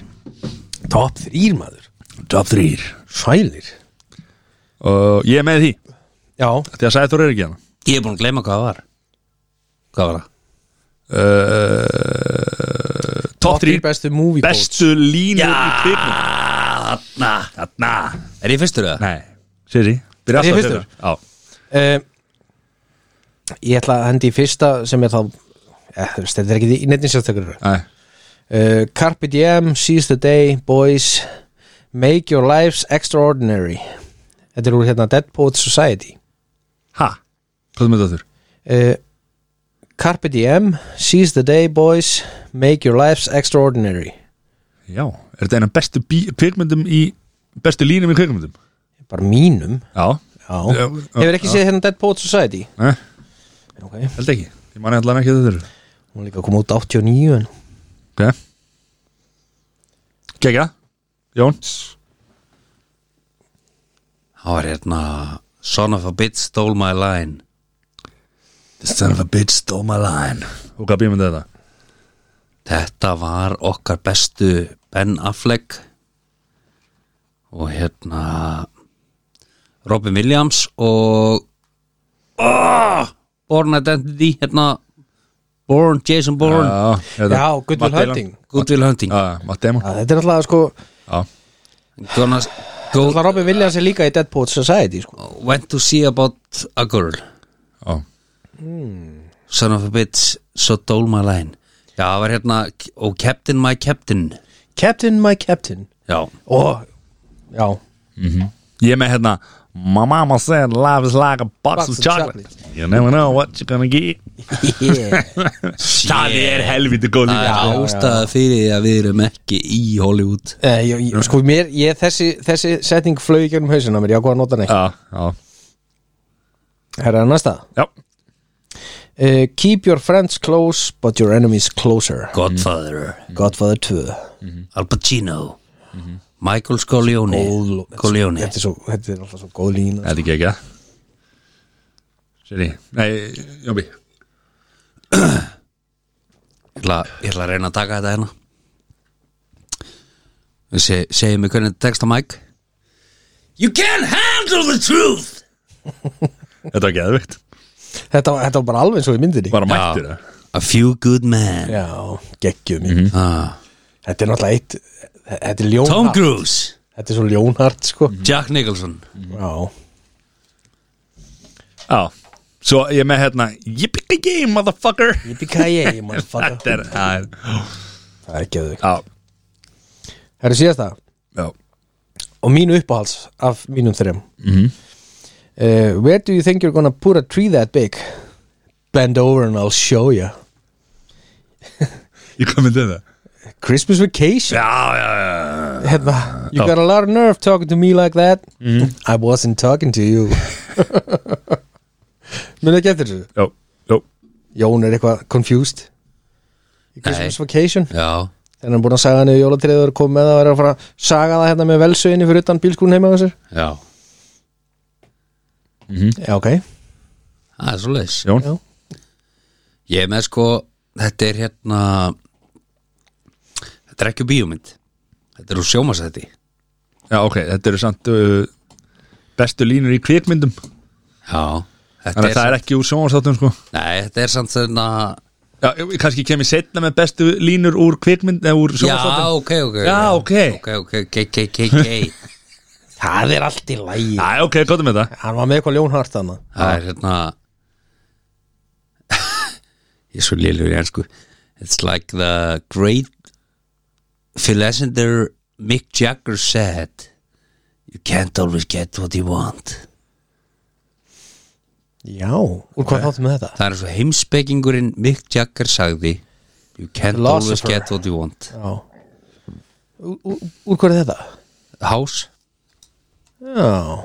Speaker 3: Top 3 maður
Speaker 1: Top 3
Speaker 3: Sælir
Speaker 1: Og ég er með því
Speaker 3: Já,
Speaker 1: Því að sagði þú er ekki hérna
Speaker 2: Ég er búin að gleyma hvað það var Hvað var það?
Speaker 1: uh, top 3
Speaker 3: bestu movie
Speaker 1: bestu línur í kvikmynd
Speaker 2: Þarna Þarna Er ég fyrstur það?
Speaker 1: Nei, Siri,
Speaker 3: Er
Speaker 1: byrja
Speaker 3: ég
Speaker 1: alltaf
Speaker 3: fyrstur?
Speaker 1: Siri. Já,
Speaker 3: uh, Ég ætla að hendi í fyrsta sem er þá eh, þú veist, Þetta er ekki í neittins játtakur uh,
Speaker 1: nei,
Speaker 3: Carpe Diem, Seize the Day, Boys Make Your Lives Extraordinary Þetta er úr hérna Dead Poets Society
Speaker 1: ha, hvað er með þetta þurr?
Speaker 3: uh, Carpe Diem, Seize the Day, Boys Make Your Lives Extraordinary
Speaker 1: Já, er þetta eina bestu bí- kvikmyndum í bestu línum í kvikmyndum?
Speaker 3: Bara mínum
Speaker 1: Já,
Speaker 3: Já.
Speaker 1: Já, já,
Speaker 3: Hefur ekki séð hérna Dead Poets Society
Speaker 1: nei,
Speaker 3: Ok,
Speaker 1: held ekki Ég man allan ekki þetta þurr
Speaker 3: hún er líka að koma út 89 en
Speaker 1: Ok Kekja, Jón
Speaker 2: Það var hérna Son of a bitch stole my line
Speaker 1: The son of a bitch stole my line Og hvað býmyndi þetta?
Speaker 2: Þetta var okkar bestu Ben Affleck og hérna Robin Williams og oh, Born Identity hérna Born, Jason Born uh,
Speaker 1: Já, þetta-
Speaker 3: Já, Good Will
Speaker 1: Matt Dillon.
Speaker 3: Hunting
Speaker 2: Goodwill Hunting
Speaker 1: Já, já, Matt Damon
Speaker 3: Já, Þetta er alltaf sko
Speaker 1: Já,
Speaker 2: Gonna
Speaker 3: Það
Speaker 2: go,
Speaker 3: Robin Williams er líka í Dead Poets Society sko.
Speaker 2: Went to see about a girl
Speaker 1: já
Speaker 2: Son of a bitch, so dole my line Já, það var hérna og Captain my Captain
Speaker 3: Captain my Captain
Speaker 2: Já,
Speaker 3: Ó, já
Speaker 1: Ég er með hérna My mama said life is like a box, of chocolate. You never know what you're gonna get
Speaker 3: <laughs> yeah.
Speaker 1: Það er helviti góð
Speaker 2: það
Speaker 1: líka
Speaker 2: er ástæða fyrir því að við erum ekki í Hollywood
Speaker 3: uh, ég, ég, Sko mér, ég, þessi, þessi setning flög í gegnum hausina mér, ég ákvað að nota hann ekki
Speaker 1: Já, já, Ah.
Speaker 3: Herra er næsta
Speaker 1: já
Speaker 3: uh, Keep your friends close but your enemies closer
Speaker 2: Godfather
Speaker 3: Godfather 2
Speaker 2: Al Pacino Michael Scoglione
Speaker 3: Góð-
Speaker 2: Scoglione
Speaker 3: Þetta er, svo, þetta er alltaf svo góð lína
Speaker 1: Þetta er ekki ekki að Siri, nei, Jónbi
Speaker 2: ég ætla, ég ætla að reyna að taka þetta hérna Se, Segðu mig hvernig þetta tekst á Mike You can't handle the truth
Speaker 1: Þetta var geðvikt
Speaker 3: þetta, var- þetta var bara alveg eins og í myndinni
Speaker 1: Bara mættur það
Speaker 2: A few good men
Speaker 3: Já, geggjum
Speaker 1: Mhm.
Speaker 3: mm
Speaker 2: ah.
Speaker 3: Þetta er náttúrulega eitt Þetta er ljónhart
Speaker 2: Tom Cruise
Speaker 3: Þetta er svo ljónhart sko
Speaker 2: Jack Nicholson
Speaker 1: Mhm.
Speaker 3: Já
Speaker 1: Já, svo ég er með hérna Yippee-ki-yay, motherfucker
Speaker 3: Yippee-ki-yay,
Speaker 1: <laughs>
Speaker 3: motherfucker.
Speaker 1: Þetta er, það er-
Speaker 3: Það er ekki
Speaker 1: já,
Speaker 3: Herra síðast það
Speaker 1: já
Speaker 3: og mínu uppáhalds af mínum þreim mm
Speaker 1: Mhm.
Speaker 3: Where do you think you're gonna put a tree that big? Bend over and I'll show you
Speaker 1: Ég kom með þetta
Speaker 3: Christmas vacation
Speaker 1: Já, já, já
Speaker 3: Hérna,
Speaker 1: Oh.
Speaker 3: You got a lot of nerve talking to me like that
Speaker 1: Mhm.
Speaker 3: I wasn't talking to
Speaker 1: <laughs>
Speaker 3: you Muna ekki eftir þessu
Speaker 1: Já, já
Speaker 3: Jón er eitthvað confused Í Christmas vacation
Speaker 2: Já,
Speaker 3: Þannig hann búin að saga hann í jólatriður og kom með það og er að fara að saga það hérna með velsveginni fyrir utan bílskúrin heima á sér
Speaker 2: já
Speaker 3: Já, ok
Speaker 2: Það er svo leis
Speaker 1: Jón,
Speaker 3: Já.
Speaker 2: Ég er með sko, þetta er hérna Þetta er ekki úr bíómynd Þetta er úr sjómasætti
Speaker 1: já, ok, þetta eru samt uh, bestu línur í kvikmyndum
Speaker 2: Já Þetta
Speaker 1: Þannig að það er ekki úr sjónvarsáttum, sko
Speaker 2: Nei, þetta er samt svona
Speaker 1: Já, ég- kannski kem ég setna með bestu línur úr kvikmynd eða úr
Speaker 2: Já,
Speaker 1: sjónvarsáttum
Speaker 2: ok, ok
Speaker 1: Já, ok.
Speaker 2: Ok, ok, ok, ok, ok,
Speaker 1: <laughs>
Speaker 2: ok
Speaker 3: Það er allt í lægi
Speaker 1: Já, ok, gott um með það
Speaker 3: Hann var með eitthvað ljónhart þannig
Speaker 2: Það er hérna <laughs> Ég er svo lélur í ennsku It's like the great philosopher Mick Jagger said You can't always get what you want
Speaker 3: Já, úr hvað þáttum við þetta?
Speaker 2: Það er eins og heimspekingurinn Mick Jagger sagði You can't always
Speaker 3: Philosopher.
Speaker 2: get what you want
Speaker 3: Já Úr, úr, úr hvað er þetta?
Speaker 2: House
Speaker 3: Já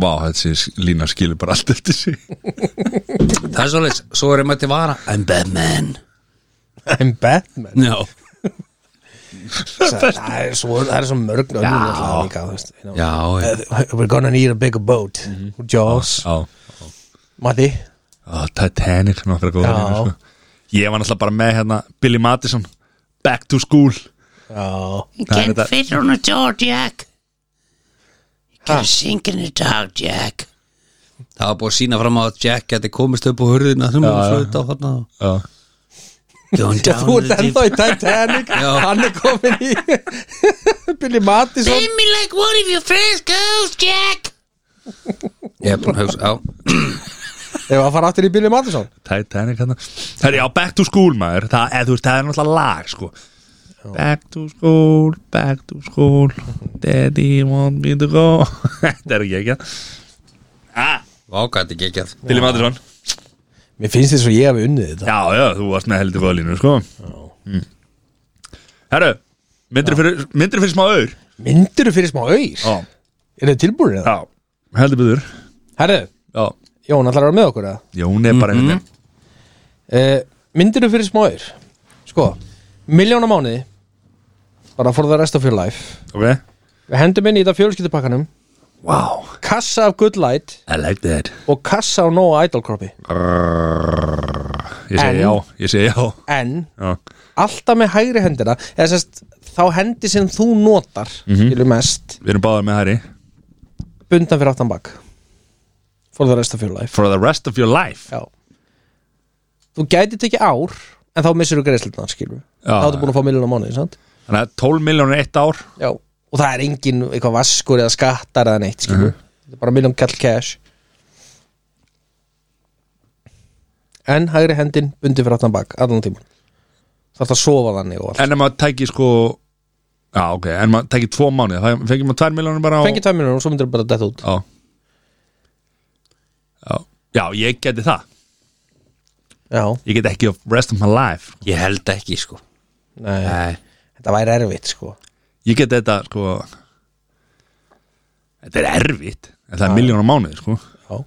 Speaker 1: Vá, þessi lína skilur bara allt eftir sig
Speaker 2: Það er svoleiðis, svo er ég mætti vara I'm Batman
Speaker 3: I'm Batman
Speaker 2: no.
Speaker 3: Það það er svo, það er svo mörg önnur náttúrulega líka, þú veist, you know.
Speaker 2: Já, já.
Speaker 3: Uh, We're gonna need a bigger boat Jaws,
Speaker 1: Já,
Speaker 3: Matti
Speaker 1: Ó, Titanic, náttúrulega góða
Speaker 3: Já.
Speaker 1: lína, sko. Ég var náttúrulega bara með hérna Billy Madison, Back to School
Speaker 3: Já,
Speaker 1: Það er þetta
Speaker 4: fit on a door, Jack. You gotta sink in the dog, Jack.
Speaker 2: Það var búið að sína fram á að Jack geti komist upp á hurðina sem hann flöta á þarna
Speaker 1: Já.
Speaker 2: Going down
Speaker 3: Þú ert
Speaker 2: the deep-
Speaker 3: ennþá í Titanic Hann er komin í <laughs> Billy Mattisson
Speaker 4: Save me like one of your friends goes, Jack.
Speaker 2: Ég er búin að hugsa, já
Speaker 3: Ef að fara aftur í Billy Mattisson
Speaker 1: Titanic hérna Herri, já, back to school maður Það, eð, veist, það er náttúrulega lag sko Back to school, back to school Daddy want me to go <laughs> Þetta er ekki ekki ah,
Speaker 2: Vágæti ekki ekki að
Speaker 1: Billy Mattisson
Speaker 3: Mér finnst þess að ég hafi unnið þetta
Speaker 1: Já, já, þú varst með heldur góða línu sko mm. Herru, myndir fyrir, myndir fyrir smá aur
Speaker 3: Myndirðu fyrir smá auð?
Speaker 1: Já,
Speaker 3: Er þið tilbúinir það?
Speaker 1: já, heldur byggður
Speaker 3: Herðu,
Speaker 1: Já,
Speaker 3: Jón, allar að vera með okkur eða?
Speaker 1: Jón er bara einhvern veginn
Speaker 3: uh, myndir þú fyrir smáir sko, miljón á mánuði bara for the rest of your life
Speaker 1: Ok,
Speaker 3: við hendum inn í þetta fjölskyldupakkanum
Speaker 1: wow,
Speaker 3: kassa af good light
Speaker 1: I like that
Speaker 3: og kassa á nóa idol kroppi
Speaker 1: Ég
Speaker 3: En-
Speaker 1: segi já, ég segi já
Speaker 3: en
Speaker 1: Já,
Speaker 3: alltaf með hægri hendina eða sérst þá hendi sem þú notar mm mest
Speaker 1: við erum báðar með Harry
Speaker 3: bundan fyrir aftan bak for the rest of your life
Speaker 1: For the rest of your life
Speaker 3: já þú gæti tekið ár en þá missir þú greiðslutna skilur
Speaker 1: Já,
Speaker 3: þá ertu búin að fá miljón á mánuði sant?
Speaker 1: Þannig að 12 miljónir eitt ár
Speaker 3: Já, og það er engin eitthvað vaskur eða skattar eða neitt skilur Þetta er bara miljón kall cash En hægri hendin bundi fyrir áttan bak, allan tíma Það er að sofa þannig og allt
Speaker 1: En ef maður tæki sko Já, ok, en maður tæki tvo mánuði Það fengið maður 2 miljónir bara á
Speaker 3: Fengi tvær miljón og svo myndir bara detta út
Speaker 1: Já Já, já ég geti það
Speaker 3: Já,
Speaker 1: Ég get ekki of rest of my life
Speaker 2: Ég held ekki, sko
Speaker 3: nei,
Speaker 2: Nei,
Speaker 3: þetta væri erfitt sko
Speaker 1: Ég get þetta sko Þetta er erfitt En það er miljónir á mánuði sko
Speaker 3: Já,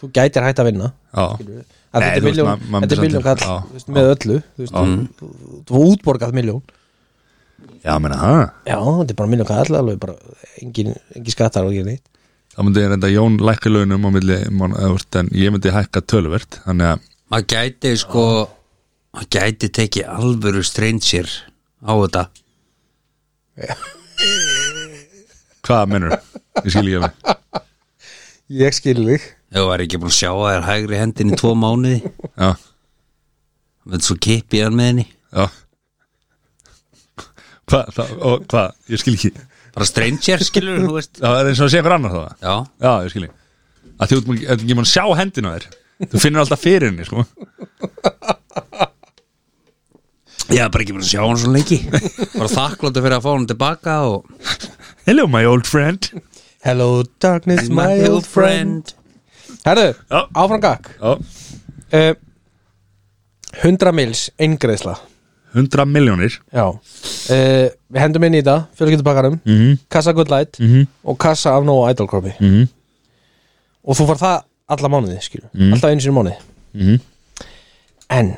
Speaker 3: þú gætir hægt að vinna
Speaker 1: Já,
Speaker 3: Að
Speaker 1: Nei,
Speaker 3: Þetta
Speaker 1: þú
Speaker 3: er
Speaker 1: veist,
Speaker 3: miljón,
Speaker 1: maður- maður
Speaker 3: þetta er
Speaker 1: myndi
Speaker 3: miljón
Speaker 1: samt-
Speaker 3: kall
Speaker 1: já,
Speaker 3: þú veist, með öllu Þú veist, þú- þú- þú útborgað miljón
Speaker 1: já menna það
Speaker 3: Já, þetta er bara miljón kall alveg bara engin, engin skattar og ekki neitt
Speaker 1: Það myndi ég reynda Jón lækka launum á milli man, veist, en ég myndi hækka töluvert þannig að
Speaker 2: maður gæti, sko Maður gæti tekið alvöru stranger á þetta
Speaker 1: hvað mennur ég skil ég alveg
Speaker 3: Ég skil þig
Speaker 2: Ef þú væri ekki búin að sjá að þér hægri hendin í tvo mánuði
Speaker 1: já,
Speaker 2: Menn svo kipi hann með henni
Speaker 1: já. Hvað, það, og, hvað, ég skil ekki
Speaker 2: Bara stranger, skilur, þú veist
Speaker 1: það er eins og að sé einhver annar þá það
Speaker 2: Já,
Speaker 1: já, ég skil ég að þú ert ekki- ert ekki mann sjá hendina á þér þú finnur alltaf fyrir henni sko.
Speaker 2: ég er bara ekki búin að sjá hann svo lengi Bara þakkláttu fyrir að fá hann tilbaka og
Speaker 1: hello my old friend
Speaker 3: Hello darkness my old friend Herðu,
Speaker 1: Já.
Speaker 3: áfram gakk
Speaker 1: já,
Speaker 3: uh, 100 mils eingreðsla
Speaker 1: 100 miljónir
Speaker 3: Já uh, Við hendum inn í þetta, fjölskyldupakkarum
Speaker 1: Mhm.
Speaker 3: Kassa Good Light
Speaker 1: Mhm.
Speaker 3: og kassa af Nóa Idol Kropi
Speaker 1: Mhm.
Speaker 3: Og þú far það alla mánuði, skilur Alltaf einu sinni í mánuði
Speaker 1: Mhm.
Speaker 3: En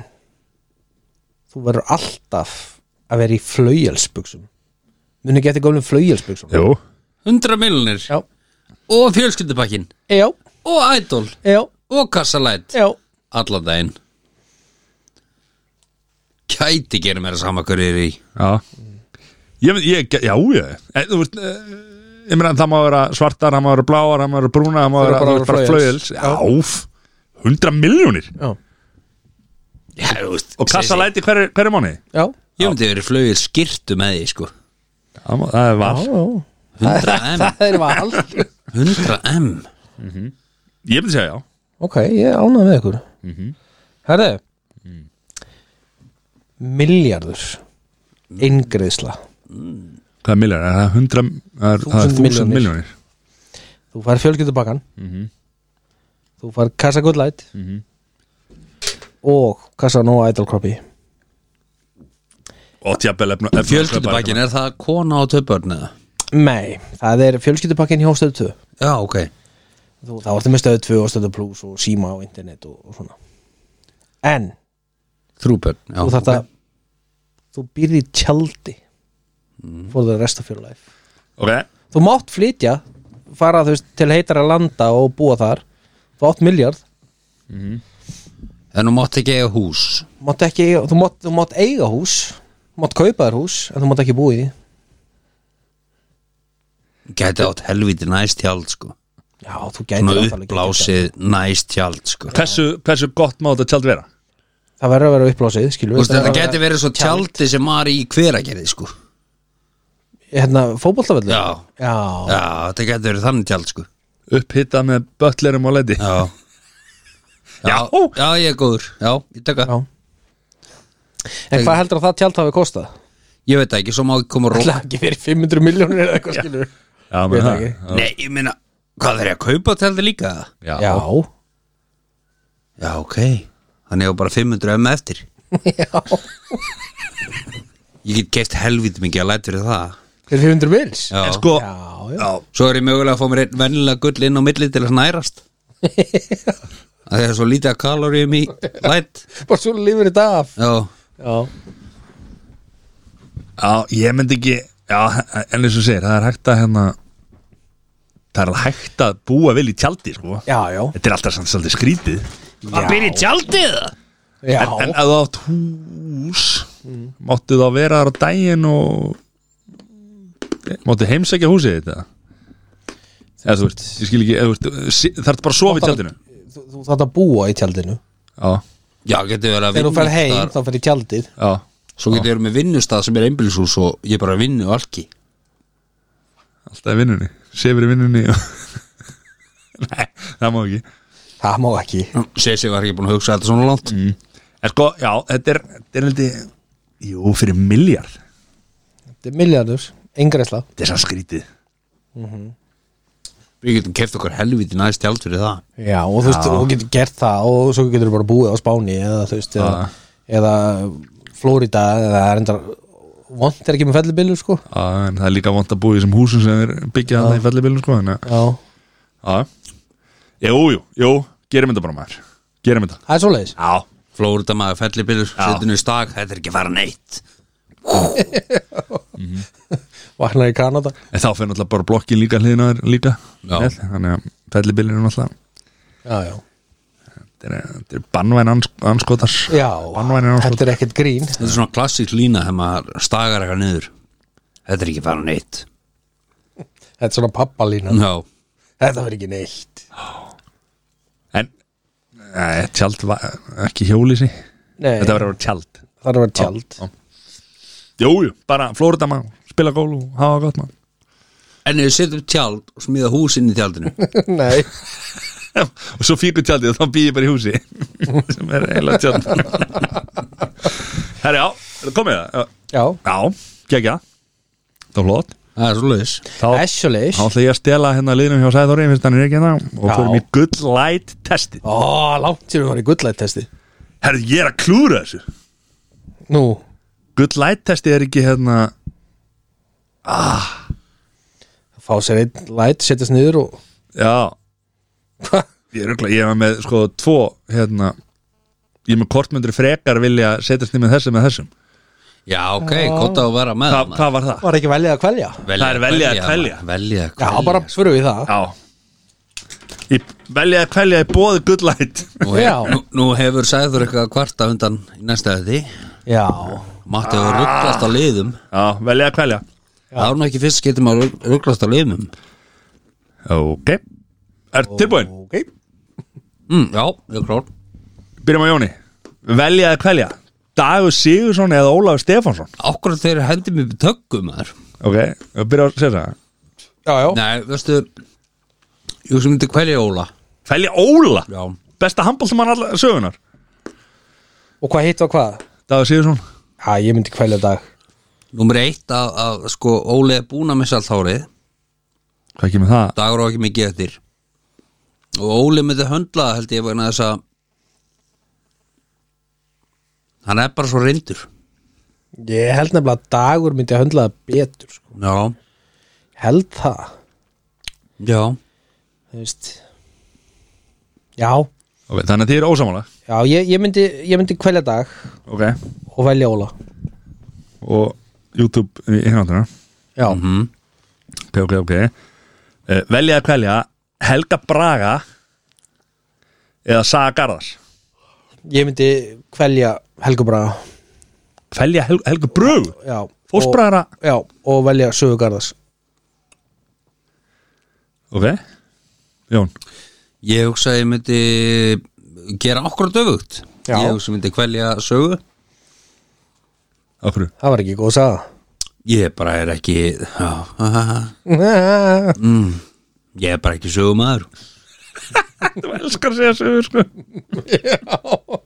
Speaker 3: Þú verður alltaf að vera í flaugjelsbuxum Muni ekki eftir góðlum flaugjelsbuxum
Speaker 1: jú,
Speaker 2: 100 miljonir
Speaker 3: Já,
Speaker 2: og fjölskyldupakkin
Speaker 3: já,
Speaker 2: og idol
Speaker 3: já,
Speaker 2: og kassalæt
Speaker 3: já
Speaker 2: allan daginn Gæti gerir mér að sama hverju er í
Speaker 1: já ég, mynd- ég, já, ég en, þú veist eh, ég meina það má vera svartar, það má vera bláar það má vera brúnar, það má
Speaker 3: Það eru
Speaker 1: vera,
Speaker 3: bara
Speaker 1: þú veist, bara
Speaker 3: flauels.
Speaker 1: flauels já, 100 miljónir
Speaker 3: Já,
Speaker 2: Já, þú veist
Speaker 1: og kassa
Speaker 2: segi-
Speaker 1: læti hverju hver mánu
Speaker 3: já,
Speaker 2: Ég myndi verið flögið skirtu með því sko
Speaker 1: það er val
Speaker 3: já, já.
Speaker 2: 100M
Speaker 3: Það er val
Speaker 2: 100M
Speaker 1: ég myndi segja já
Speaker 3: Ok, ég ánað með ykkur Herðu Miljardur Ingriðsla
Speaker 1: hvað er miljónir, er það 100 það er- það er
Speaker 3: 1000
Speaker 1: 1000
Speaker 3: milljónir.
Speaker 1: miljónir
Speaker 3: Þú fær fjölskyldubakkan Þú fær kassa good light Og kassa no idol cropy
Speaker 1: og tjafnvel
Speaker 2: Fjölskyldupakkin, er það kona og töpörn eða?
Speaker 3: Nei, það er fjölskyldubakkin hjá stöð 2
Speaker 2: Já, ok
Speaker 3: Þú, Það varstu með stöð 2 og stöð plus og síma og internet og, og svona En,
Speaker 2: Þrúbörn, já
Speaker 3: þú þarft að Þú býrð í tjaldi For the rest of your life
Speaker 1: ok,
Speaker 3: þú mátt flytja fara þú veist til heitara landa og búa þar þú átt miljard
Speaker 2: En þú mátt ekki eiga hús
Speaker 3: þú mátt ekki, eiga- þú mátt, þú mátt eiga hús þú mátt kaupa þér hús en þú mátt ekki búa í því.
Speaker 2: Gæti átt helviti næst hjald sko
Speaker 3: já þú gætir
Speaker 2: Nú
Speaker 3: náttúrulega ekki að gera
Speaker 2: uppblásið næst hjald sko
Speaker 1: hversu, hversu gott má þetta tjald vera
Speaker 3: það. það verður að vera uppblásið skilur
Speaker 2: Úst, þetta
Speaker 3: verður að
Speaker 2: geti verið svo tjaldi sem var í hveragerði sko
Speaker 3: vera- hérna, fótbollavöldu
Speaker 2: Já.
Speaker 3: já,
Speaker 2: Já, þetta geti verið þannig tjald sko
Speaker 1: Upphitta með böllerum og leiti
Speaker 2: Já Já, já ég er góður Já, ég taka
Speaker 3: já. en hvað heldur að það tjald hafi kostað?
Speaker 2: Ég veit það ekki, svo má ekki koma rók
Speaker 3: Það ekki verið 500 miljónir eða eitthvað skilur
Speaker 1: Já,
Speaker 3: Veit
Speaker 1: menn það
Speaker 3: ekki.
Speaker 2: Nei, ég meina, hvað þarf ég að kaupa tjaldi líka?
Speaker 1: Já,
Speaker 3: Já,
Speaker 2: Já, ok Þannig ég á bara 500 M eftir
Speaker 3: <laughs> já.
Speaker 2: Ég get keft helvítið mikið að læta fyrir það
Speaker 3: Fyrir 500 mils?
Speaker 2: Já,
Speaker 1: En sko,
Speaker 3: já, já.
Speaker 1: já,
Speaker 2: svo er ég mögulega að fá mér einn vennilega gull inn á milli til að
Speaker 3: <laughs>
Speaker 2: nærast Það er svo lítið að kaloríum í læt
Speaker 3: Bara svo lifir þetta af
Speaker 2: Já,
Speaker 3: Já,
Speaker 1: já, ég myndi ekki Já, en eins og segir, það er hægt að hérna Það er hægt að búa vel í tjaldi, sko
Speaker 3: já, já,
Speaker 1: Þetta er alltaf samt svolítið skrítið
Speaker 4: Að byrja í tjaldið
Speaker 3: já.
Speaker 1: En, en að þú átt hús Máttu þá vera þar á daginn og Máttu heimsækja húsið þetta Eða þú veist, ég skil ekki eða þú veist, si- Þarftu bara að sofa í tjaldinu
Speaker 3: Þú, þú þátt að búa í tjaldinu
Speaker 1: Já,
Speaker 2: já getur verið að
Speaker 3: Þegar þú fer heim,
Speaker 2: vinnustar-
Speaker 3: þá fer í tjaldið
Speaker 1: já
Speaker 2: Svo getur verið með vinnustað sem er einbýlishús og ég bara vinnu og alki
Speaker 1: Alltaf í vinnunni, sefur í vinnunni og... <laughs> Nei, það má ekki
Speaker 3: Það má ekki
Speaker 2: Sessi var ekki búin að hugsa þetta svona langt
Speaker 3: Mm.
Speaker 1: En sko, já, þetta er, þetta er heldig, Jú, fyrir miljard
Speaker 3: Þetta er miljardur, engreisla
Speaker 1: Þetta er sann skrítið
Speaker 2: Við getum keft okkur helviti næst tjald fyrir það
Speaker 3: Já, og þú veist, þú getur gert það og svo getur þú bara búið á Spáni eða þú veist, eða,
Speaker 1: Ah.
Speaker 3: eða Flórida eða reyndar vont er ekki með fellibillu, sko
Speaker 1: Já, en það er líka vant að búa í þessum húsum sem er byggjað þarna í fellibillum sko, þannig að
Speaker 3: Já,
Speaker 1: Já Jú, jú, jú, gerum þetta bara maður Gerum þetta
Speaker 3: það er svoleiðis
Speaker 1: Já
Speaker 2: Flórida maður fellibillur, setinu í stak Þetta er ekki að fara neitt
Speaker 3: Vaknar í Kanada
Speaker 1: En þá fyrir náttúrulega bara blokkin líka hliðinaður líka
Speaker 2: Já.
Speaker 1: Með, Þannig að fellibillin er náttúrulega
Speaker 3: Já, já,
Speaker 1: Þetta er, þetta er bannvæn ans, anskotars
Speaker 3: já
Speaker 1: Bannvæn
Speaker 3: Þetta
Speaker 1: anskotars
Speaker 3: er ekkert grín
Speaker 2: Þetta er svona klassík lína þegar maður stagar eitthvað niður Þetta er ekki að fara neitt
Speaker 3: Þetta er svona
Speaker 1: Mm.
Speaker 3: papbalína
Speaker 2: Já,
Speaker 3: Þetta verður ekki neitt
Speaker 1: En Nei, tjald var ekki hjólísi
Speaker 3: Nei,
Speaker 1: Þetta verður að vera tjald
Speaker 3: það er að vera tjald
Speaker 1: Já. Jú, jú, bara Flórida mann Spila gól og hafa gott mann
Speaker 2: en ef við setjum tjald og smíða húsinn í tjaldinu <laughs>
Speaker 3: <laughs> Nei,
Speaker 1: Og svo fíkur tjaldið og þá býð ég bara í húsi <laughs> Sem er eiginlega tjald Herri, já, er það komið það?
Speaker 3: já,
Speaker 1: Já, gegja Það var flott
Speaker 2: Það er svo leiðis
Speaker 1: Þá
Speaker 3: essuleis
Speaker 1: Þá ætla ég að stela hérna liðnum hjá Sæðóri finnst hann er ekki hérna og
Speaker 3: Já.
Speaker 1: fyrir mér good light testi
Speaker 3: Ó, langt sér við varum í gullættesti
Speaker 1: Herðu, ég er að klúra þessu
Speaker 3: Nú,
Speaker 1: Good light testi er ekki hérna
Speaker 3: fá sér einn læt, setjast niður og
Speaker 1: Já Ég er örugglega- ég var með sko tvo hérna Ég er með kortmyndur frekar vilja setjast niður með þessum með þessum
Speaker 2: Já, ok, gott á að vera með
Speaker 1: Hva, Hvað var það?
Speaker 3: var ekki veljað að kvelja
Speaker 2: Velja,
Speaker 1: það er velja að kvelja.
Speaker 2: Velja að
Speaker 3: Já,
Speaker 2: kvelja
Speaker 3: bara fyrir við það
Speaker 1: Já Ég velja að kvelja í bóði good light
Speaker 2: Nú, hef,
Speaker 3: Já.
Speaker 2: nú, nú hefur sæður eitthvað að kvarta undan í næsta því
Speaker 3: Já,
Speaker 2: Matti
Speaker 3: Ah.
Speaker 2: hefur rugglast á liðum
Speaker 1: Já, velja að kvelja
Speaker 2: Það er nú ekki fyrst skiptum að rugglast á liðum
Speaker 1: Ok Er tilbúin?
Speaker 3: ok
Speaker 2: mm, Já, ég er klár
Speaker 1: Byrjum á Jóni Velja að kvelja Dagur Sigursson eða Ólafur Stefánsson
Speaker 2: Akkur þeir hendi mér tökum maður
Speaker 1: Ok, við byrjum að segja það
Speaker 3: Já, já,
Speaker 2: Nei, veistu Ég sem myndi kvelja Óla
Speaker 1: Felja Óla,
Speaker 2: Já,
Speaker 1: besta handbóltumann allar sögunar
Speaker 3: og hvað hitt var hvað?
Speaker 1: Dagur Sigursson
Speaker 3: Já, ég myndi kvelja dag
Speaker 2: nummer eitt að, að sko Óli er búin að missa allt hárið
Speaker 1: Hvað kemur það?
Speaker 2: Dagur á ekki mikið eftir Og Óli myndi höndla það, held ég vegna þess að Hann er bara svo reyndur
Speaker 3: Ég held nefnilega að dagur myndi að höndla það betur sko.
Speaker 2: Já,
Speaker 3: Held það,
Speaker 2: já
Speaker 3: þú veist Já,
Speaker 1: Ok, þannig að þið eru ósamála
Speaker 3: já, ég, ég myndi, ég myndi kvelja dag
Speaker 1: Ok
Speaker 3: og velja Óla
Speaker 1: Og YouTube í hináttina
Speaker 3: Já,
Speaker 2: Mhm.
Speaker 1: Ok, ok, ok uh, Velja að kvelja Helga Braga Eða Saga Garðars
Speaker 3: ég myndi kvelja Helgubraga
Speaker 1: Velja Hel Helga Brug
Speaker 3: Já, og,
Speaker 1: Fósbraga
Speaker 3: já, og velja Sögugarðas
Speaker 1: Ok Jón
Speaker 2: Ég hugsa að ég myndi gera okkur döfugt
Speaker 3: Já.
Speaker 2: ég hugsa myndi kvelja sögu
Speaker 1: af hverju
Speaker 3: það var ekki góð saga <laughs>
Speaker 2: ég bara er ekki já, <laughs> Mm.
Speaker 3: Nei,
Speaker 2: ég er bara ekki sögumæður
Speaker 1: þú elskar að segja sögur sko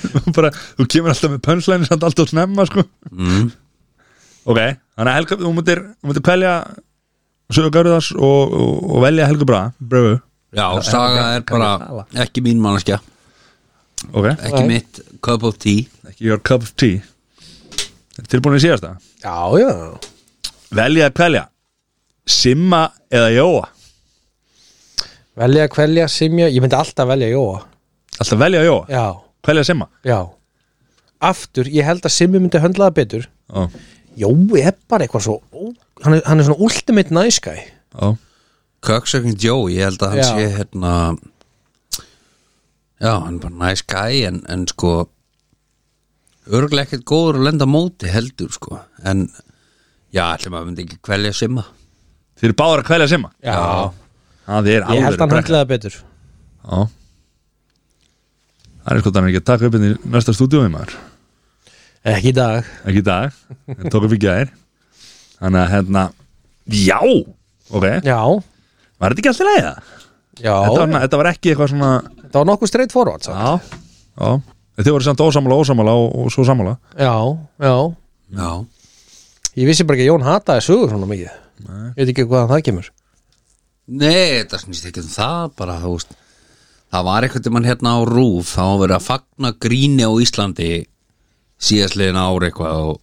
Speaker 1: <laughs> bara, þú kemur alltaf með pönslæni samt alltaf snemma sko
Speaker 2: mm.
Speaker 1: ok, þannig að Helga, þú mútir þú mútir pelja sögur Garðars og, og, og velja Helga Braga bröfu,
Speaker 2: <laughs> já, saga er bara ekki mín mannskja
Speaker 1: ok,
Speaker 2: ekki mitt cup of tea
Speaker 1: ekki your cup of tea tilbúin í síðasta
Speaker 3: Já, já
Speaker 1: velja að pelja Simma eða Jóa
Speaker 3: Velja að kvelja, simja, ég myndi alltaf velja Jóa
Speaker 1: alltaf velja Jóa,
Speaker 3: Já,
Speaker 1: pelja Simma
Speaker 3: já Aftur, ég held að simja myndi höndla það betur
Speaker 1: ó,
Speaker 3: Jói er bara eitthvað svo ó, Hann er, hann er svona ultimate nice guy
Speaker 1: ó,
Speaker 2: Köksökin Joe, ég held að hann
Speaker 3: Já.
Speaker 2: sé hérna Já, hann er bara nice guy en, en sko örglega ekkert góður að lenda á móti heldur sko en já, allir maður myndi ekki kvelja simma
Speaker 1: þið eru báður að kvelja Simma
Speaker 3: Já.
Speaker 1: það er
Speaker 3: Ég held
Speaker 1: alveg
Speaker 3: að hann höndla það betur
Speaker 1: Já Það er sko þannig ekki að taka upp inn í næsta stúdíói maður
Speaker 3: Ekki í dag
Speaker 1: Ekki í dag, en tók upp í gær Þannig að hérna Já, ok,
Speaker 3: Já,
Speaker 1: var þetta ekki alltaf leiða?
Speaker 3: já
Speaker 1: Þetta var, þetta var ekki eitthvað svona
Speaker 3: Þetta var nokkuð straight forward sagt.
Speaker 1: Já, já En Þið voru samt ósammála, ósammála og, og svo sammála
Speaker 3: Já, já
Speaker 2: Já,
Speaker 3: Ég vissi bara ekki að Jón hataði sögur svona mikið Ég veit ekki hvaðan það kemur
Speaker 2: nei, þetta snýst ekki um það bara þú veist það var eitthvað til mann hérna á rúf þá var verið að fagna gríni á Íslandi síðastliðin ár eitthvað og,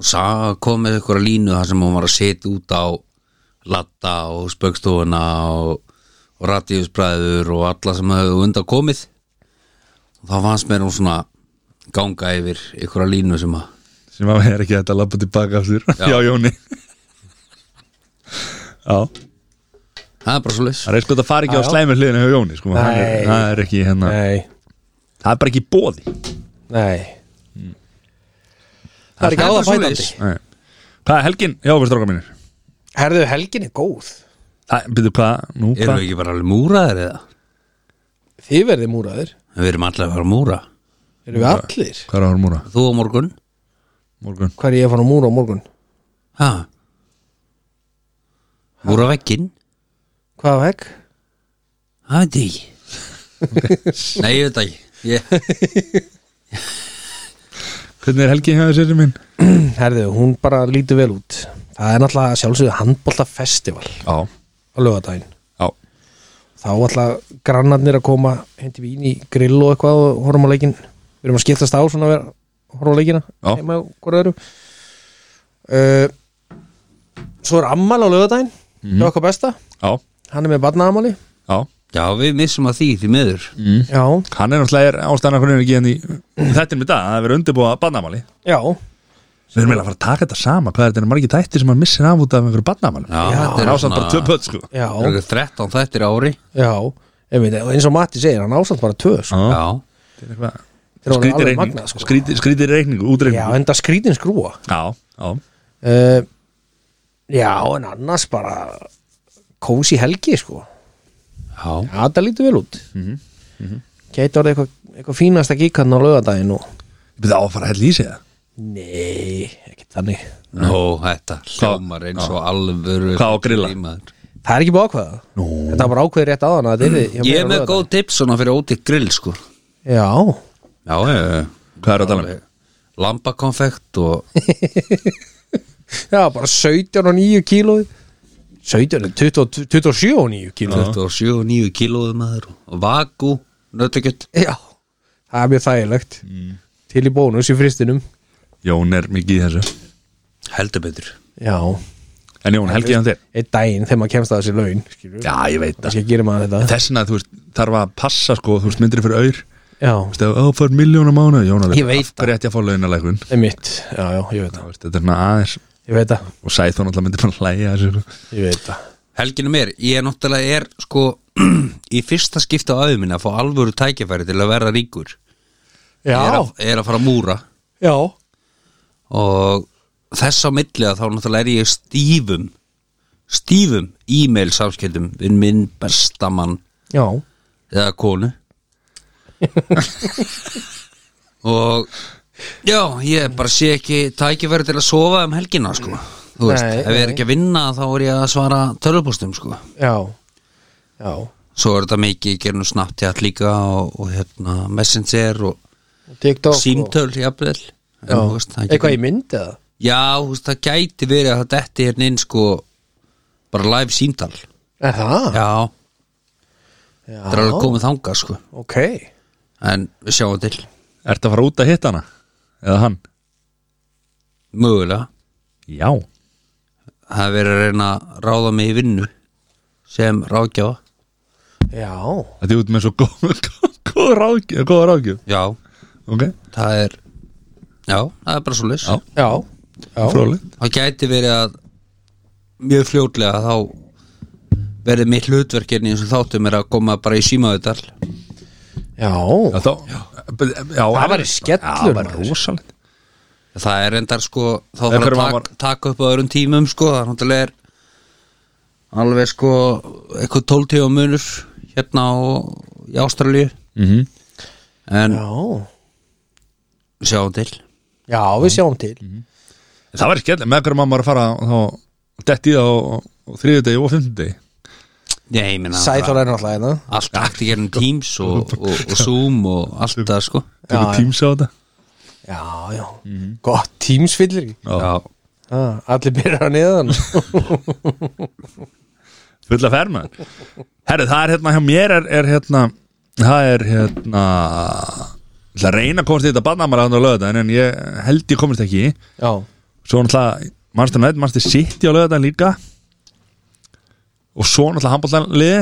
Speaker 2: og sa, kom með eitthvað línu þar sem hún var að setja út á latta og spöggstofuna og, og ratíðusbræður og alla sem höfðu undan komið og þá fannst mér hún svona ganga yfir eitthvað línu sem að
Speaker 1: Sem að vera ekki hægt að labba tilbaka aftur <laughs> Já, Jóni Já,
Speaker 2: það er bara svo leys
Speaker 1: það er sko þetta fara ekki á
Speaker 3: Já.
Speaker 1: slæmur hliðinu hjá Jóni sko. það, er,
Speaker 3: Nei.
Speaker 1: það er ekki hérna
Speaker 3: Nei,
Speaker 1: Það er bara ekki bóði
Speaker 3: nei Mm. Það er
Speaker 2: Það er
Speaker 3: ekki áða
Speaker 2: bara
Speaker 3: fætandi
Speaker 2: svoleiðis.
Speaker 1: Nei. Hvað er helgin? Já, við stráka mínir
Speaker 3: Herðu, helgin er góð
Speaker 1: Það, byrju, hvað, nú,
Speaker 2: erum
Speaker 1: hvað?
Speaker 2: við ekki bara alveg múraðir eða?
Speaker 3: Þið verði múraðir
Speaker 2: við erum allir að fara að múra
Speaker 3: Erum við allir
Speaker 1: Hvað er að hormúra?
Speaker 2: þú á morgun
Speaker 1: Morgun
Speaker 3: Hvað er ég að fara að múra á morgun?
Speaker 2: ha? múra vekkinn
Speaker 3: Hvað vekk?
Speaker 2: Það veit ég ekki <laughs> Nei, ég veit það ekki ég,
Speaker 1: Hvernig er helgin hjá þessi minn?
Speaker 3: <clears throat> Herðu, hún bara lítur vel út Það er náttúrulega sjálfsögðu handboltafestival
Speaker 1: Já,
Speaker 3: á laugardaginn
Speaker 1: já,
Speaker 3: Þá alltaf grannarnir að koma hendi vín í grill og eitthvað og horfum á leikinn Við erum að skiptast á svona að vera horfum á leikina
Speaker 1: Já.
Speaker 3: heima og hvort öðru uh, Svo er ammal á laugardaginn mm. okkar besta,
Speaker 1: já,
Speaker 3: hann er með barnaamali
Speaker 1: já
Speaker 2: Já, við missum að því því miður
Speaker 3: Já,
Speaker 1: Hann er náttúrulega er ástæðan af hvernig er ekki hann í <clears throat> í þættinum í dag, það er verið undirbúa barnamáli
Speaker 3: já,
Speaker 1: Við erum eiginlega að fara að taka þetta sama Hvað er þetta eru margir þættir sem hann missir af út af einhverju barnamáli?
Speaker 2: Já, þetta
Speaker 1: Það
Speaker 2: er
Speaker 1: er ástæðan bara tvö pöt, sko
Speaker 3: já,
Speaker 2: Það eru 13 þættir á ári
Speaker 3: já Einmitt, og eins og Matti segir, hann ásamt bara tvö sko.
Speaker 1: Já,
Speaker 2: Já,
Speaker 1: þetta er eitthvað
Speaker 3: Þeir voru
Speaker 1: Skrítið
Speaker 3: alveg
Speaker 1: reikning,
Speaker 3: magnað, sko.
Speaker 1: skrítið- skrítið reikning,
Speaker 3: Já,
Speaker 1: útreikning
Speaker 3: enda skrítin skrúa
Speaker 1: Já, já,
Speaker 3: uh, Já, en annars bara kósi helgi, sko
Speaker 2: já,
Speaker 3: Já, það lítur vel út mm -hmm. Gæti orðið eitthvað, eitthvað fínasta gíkann á laugardaginn og
Speaker 1: við þá að fara að hella í sig það
Speaker 3: Nei, ekki þannig
Speaker 2: nú, þetta Hljómar eins og alvöru
Speaker 1: Hvað á að grilla?
Speaker 2: maður.
Speaker 3: Það er ekki búið ákveða Nú. Þetta var bara ákveðið rétt áðan að þetta er
Speaker 2: Ég er með góð tips svona fyrir ótitt grill, sko
Speaker 3: Já,
Speaker 2: Já, ég,
Speaker 1: Hvað er að tala um?
Speaker 2: lambakonfekt og
Speaker 3: já, bara 17 og 9 kílói 17, og 20, 27 og 9 kílói
Speaker 2: 27 og 9 kílóðum maður og vaku, nöttekjöt
Speaker 3: Já, Mm. það er mjög þægilegt Til í bónus í fristinum
Speaker 1: Jón er mikið í þessu
Speaker 2: heldur betur
Speaker 3: Já,
Speaker 1: En Jón, helgið hann þér?
Speaker 3: einn daginn þegar maður kemst að þessi laun skilur.
Speaker 1: Já, ég veit það
Speaker 3: Kannski gerir maður þetta
Speaker 1: Þess vegna, þú veist, þarf að passa, sko, þú veist, myndri fyrir aur
Speaker 3: Já,
Speaker 1: Þú veist, ef þú fær miljónum mánu Jónar,
Speaker 3: Ég veit
Speaker 1: Af hverju ætti ég að fá launalækun
Speaker 3: er mitt Já, já, ég veit það
Speaker 1: Þetta er svona aðeins
Speaker 3: Ég veit það,
Speaker 1: Og Sæþór náttúrulega myndi bara hlæja þessu sko.
Speaker 3: ég veit það
Speaker 2: Helginu mér, ég er náttúrulega er sko <clears throat> í fyrsta skipta á aðeiminn að fá alvöru tækifæri til að verða ríkur
Speaker 3: Já,
Speaker 2: er að, er að fara að múra
Speaker 3: já,
Speaker 2: og þess á milli að þá náttúrulega er ég stífum stífum e-mail samskiptum við minn bestamann
Speaker 3: <laughs> já
Speaker 2: eða konu og já, ég bara sé ekki tækifæri til að sofa um helgina sko. þú veist,
Speaker 3: Nei,
Speaker 2: ef ég er
Speaker 3: nei.
Speaker 2: ekki að vinna þá er ég að svara tölvupóstum sko.
Speaker 3: já já,
Speaker 2: svo er þetta mikið, ég ger nú Snapchat líka og, og hérna, Messenger og
Speaker 3: TikTok og-
Speaker 2: símtöl, jafnvel En,
Speaker 3: já.
Speaker 2: þú veist, það
Speaker 3: eitthvað í
Speaker 2: getur-
Speaker 3: mynd eða
Speaker 2: já, þú veist, það gæti verið að það detti hérna inn sko, bara live símtal
Speaker 3: er það?
Speaker 2: já,
Speaker 3: já,
Speaker 2: það er alveg komið þangað sko.
Speaker 3: ok
Speaker 2: en við sjáum til,
Speaker 1: Ertu að fara út að hitta hana? Eða hann?
Speaker 2: mögulega
Speaker 1: Já
Speaker 2: það er verið að reyna að ráða mig í vinnu sem ráðgjáða
Speaker 3: já,
Speaker 1: Þetta er út með svo góð, <laughs> góð ráðgjöf Góð ráðgjöf,
Speaker 2: Já,
Speaker 1: ok,
Speaker 2: það er Já, það er bara svo leys
Speaker 1: Já.
Speaker 3: já, já.
Speaker 1: fróðlegt
Speaker 2: Það gæti verið að mjög fljótlega þá verið mitt hlutverkinn í þessum þáttum er að koma bara í símaðutal
Speaker 3: já.
Speaker 1: Já, þá, já, já
Speaker 3: Það væri
Speaker 1: er- Já,
Speaker 3: skellur,
Speaker 1: það
Speaker 3: maður.
Speaker 1: var rosalegt
Speaker 2: Það er endar sko
Speaker 1: Ef
Speaker 2: þá þarf að
Speaker 1: hverjum
Speaker 2: tak,
Speaker 1: var-
Speaker 2: taka upp á öðrum tímum sko, það er náttúrulega er alveg sko eitthvað tóltíu munur hérna á, í Ástralíu
Speaker 1: mm
Speaker 2: en
Speaker 3: já.
Speaker 2: sjáum til
Speaker 3: Já, við sjáum til
Speaker 2: Mhm.
Speaker 1: Það var skellur, með hverju mamma var að fara þá Detti í það á- á þriðudegi og fimmtudegi
Speaker 2: Nei, ég meina
Speaker 3: Sæþór er náttúrulega hérna
Speaker 2: bara allt hægt í gerum Teams og, og, og Zoom og allt það sko
Speaker 1: Tökum
Speaker 3: já.
Speaker 1: tíms á þetta
Speaker 3: Já, já,
Speaker 2: Mhm.
Speaker 3: gott tímsfyllir
Speaker 2: Já,
Speaker 3: ah, Allir byrjar að neðan
Speaker 1: fulla fermar herru það er hérna hjá mér er, er hérna það er hérna ég ætla að reyna að komast í þetta barnamara hann á lögðan en ég held ég komist ekki í.
Speaker 3: <laughs> Já,
Speaker 1: svo náttúrulega mannstur nætt mannstur sitt í á lögðan líka og svo náttúrulega handbóltanliði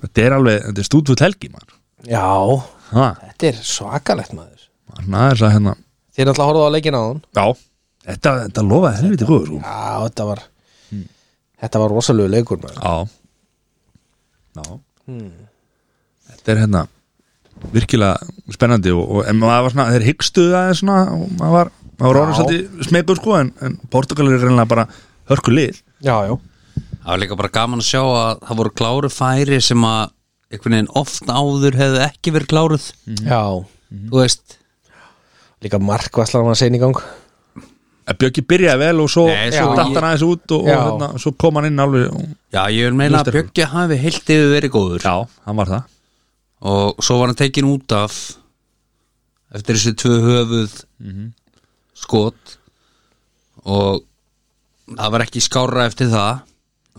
Speaker 1: þetta er alveg þetta er stúdfull helgi maður
Speaker 3: já,
Speaker 1: ha,
Speaker 3: þetta er svakalegt maður
Speaker 1: maður aðeins að hérna
Speaker 3: Þið er alltaf að horfa á leikin á hann
Speaker 1: já þetta, þetta lofaði helviti góður sko.
Speaker 3: Já, þetta var Þetta var rosalegu leikur maður
Speaker 1: já já þetta er hérna virkilega spennandi og, og en maður var svona, þeir hyggstuðu aðeins svona og maður var, maður var
Speaker 3: Já.
Speaker 1: orðin svolítið smegur sko en, en Portugal er reynilega bara hörku lið
Speaker 3: Já, já,
Speaker 2: Það var líka bara gaman að sjá að það voru kláru færi sem að einhvern veginn oft áður hefðu ekki verið kláruð
Speaker 1: Mhm.
Speaker 3: já
Speaker 2: þú veist,
Speaker 3: Líka markvasslan var sein í gang
Speaker 1: að Bjöggi byrjaði vel og svo
Speaker 2: Nei,
Speaker 1: svo
Speaker 2: svo
Speaker 1: datt
Speaker 2: ég-
Speaker 1: hann aðeins út og, og
Speaker 3: Já.
Speaker 1: hérna, svo kom hann inn alveg og,
Speaker 2: já ég vil meina að Bjöggi hafi heilt yfir verið góður
Speaker 1: já, hann var það
Speaker 2: og svo var hann tekin út af eftir þessi tvö höfuð Mhm. skot og það var ekki skára eftir það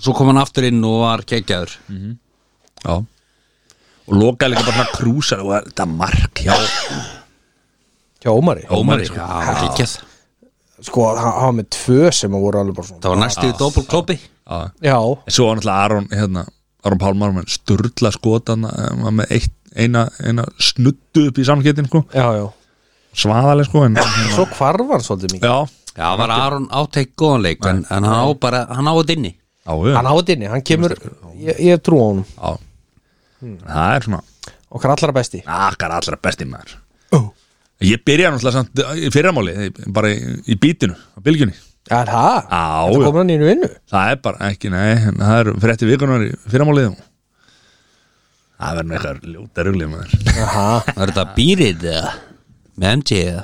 Speaker 2: svo kom hann aftur inn og var kekkjaður
Speaker 1: já og lokaði líka bara svona krúsar og þetta mark já,
Speaker 3: Hjá Ómari
Speaker 1: Ómari, sko.
Speaker 2: já, það var geggjað.
Speaker 3: Sko, hann hann var með tvö sem að voru alveg bara
Speaker 2: það
Speaker 3: svona
Speaker 2: var næstu í doppelkloppi
Speaker 1: já.
Speaker 3: Já,
Speaker 1: En svo var náttúrulega Aron hérna, Aron Pálmar með sturla skotan eh, með eitt, eina, eina snuttu upp í samskettin sko.
Speaker 3: já, já
Speaker 1: svaðaleg sko en, hérna,
Speaker 3: Svo hvarf hann svolítið mikið
Speaker 1: já,
Speaker 2: já, það var Aron áteik góðanleik en, en hann á bara, hann á að inni
Speaker 1: já, já,
Speaker 3: Hann átt inni, hann kemur Ég, ég trú á honum
Speaker 1: já. það er svona
Speaker 3: Okkar allra besti
Speaker 1: akkar allra besti maður ég byrja náttúrulega samt í fyrramáli bara í, í bítinu, á bylgjunni
Speaker 3: Er það?
Speaker 1: Já,
Speaker 3: Þetta
Speaker 1: já.
Speaker 3: komur hann í vinnu
Speaker 1: það er bara ekki, nei, en það er frétti vikunar í fyrramálið og það verður nú eitthvað ljóta ruglið maður
Speaker 3: Aha,
Speaker 2: Var þetta býrið eða? Með MG eða?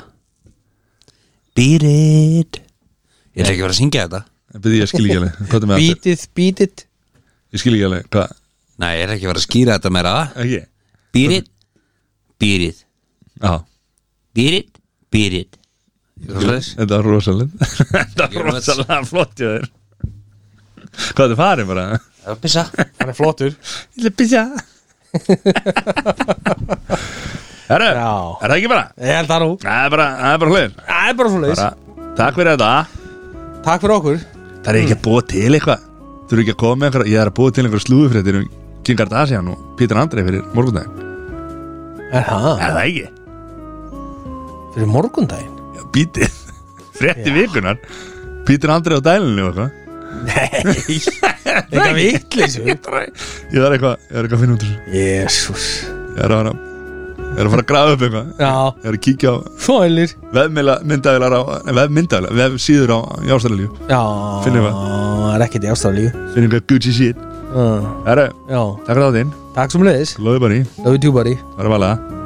Speaker 2: Býrið Ég ætla ekki að vera að syngja þetta
Speaker 1: Byrði, ég skil ekki alveg, hvað er með aftur?
Speaker 3: <laughs> bítið, bítið
Speaker 1: ég skil ekki alveg, hvað,
Speaker 2: Nei, ég ætla ekki að vera að skýra þetta meira
Speaker 1: ekki
Speaker 2: Býrið Býrið
Speaker 1: já,
Speaker 2: Býrið Býrið Ég
Speaker 1: Þetta var rosalega <laughs> Þetta
Speaker 2: Ég
Speaker 1: var
Speaker 2: er með-
Speaker 1: rosalega flott hjá þér Hvað þetta farið bara?
Speaker 2: er að pissa
Speaker 3: Hann er flottur
Speaker 1: Ég vil písja Herru,
Speaker 3: Já.
Speaker 1: er það ekki bara?
Speaker 3: Ég held það nú
Speaker 1: Það er bara, það er bara hlugin
Speaker 3: Það er bara svo leiðis
Speaker 1: bara, Takk fyrir þetta
Speaker 3: Takk fyrir okkur
Speaker 1: Það er ekki að búa til eitthvað Þú eru ekki að koma með einhverja Ég er að búa til einhverja slúðufréttir um Kim Kardashian og Pítur Andrei fyrir morgundaginn
Speaker 3: Er það?
Speaker 1: Er það ekki?
Speaker 3: Fyrir morgundaginn?
Speaker 1: Já, bítið <laughs> Frétti vikunar Pítur Andrei á dælunni og eitthvað
Speaker 3: Eitthvað <laughs> vittleysu
Speaker 1: Ég þarf eitthvað, ég þarf eitthvað að finna út úr þessu
Speaker 3: Jésús
Speaker 1: Ég er að fara Ég er að fara að grafa upp eitthvað
Speaker 3: Já,
Speaker 1: Ég er að kíkja á
Speaker 3: svoilir
Speaker 1: vefmiðla myndavilar á Nei, vefmyndavilar, vefsíður á Jástarlíu
Speaker 3: Já
Speaker 1: Finnum við.
Speaker 3: Það er ekkert í ástaflíu
Speaker 1: Finnum hvað Gucci shit uh,
Speaker 3: Herru,
Speaker 1: Já,
Speaker 3: takk fyrir þáttinn
Speaker 1: takk sem leiðis
Speaker 3: Lóðu bara í,
Speaker 1: Love you too buddy
Speaker 3: það er valega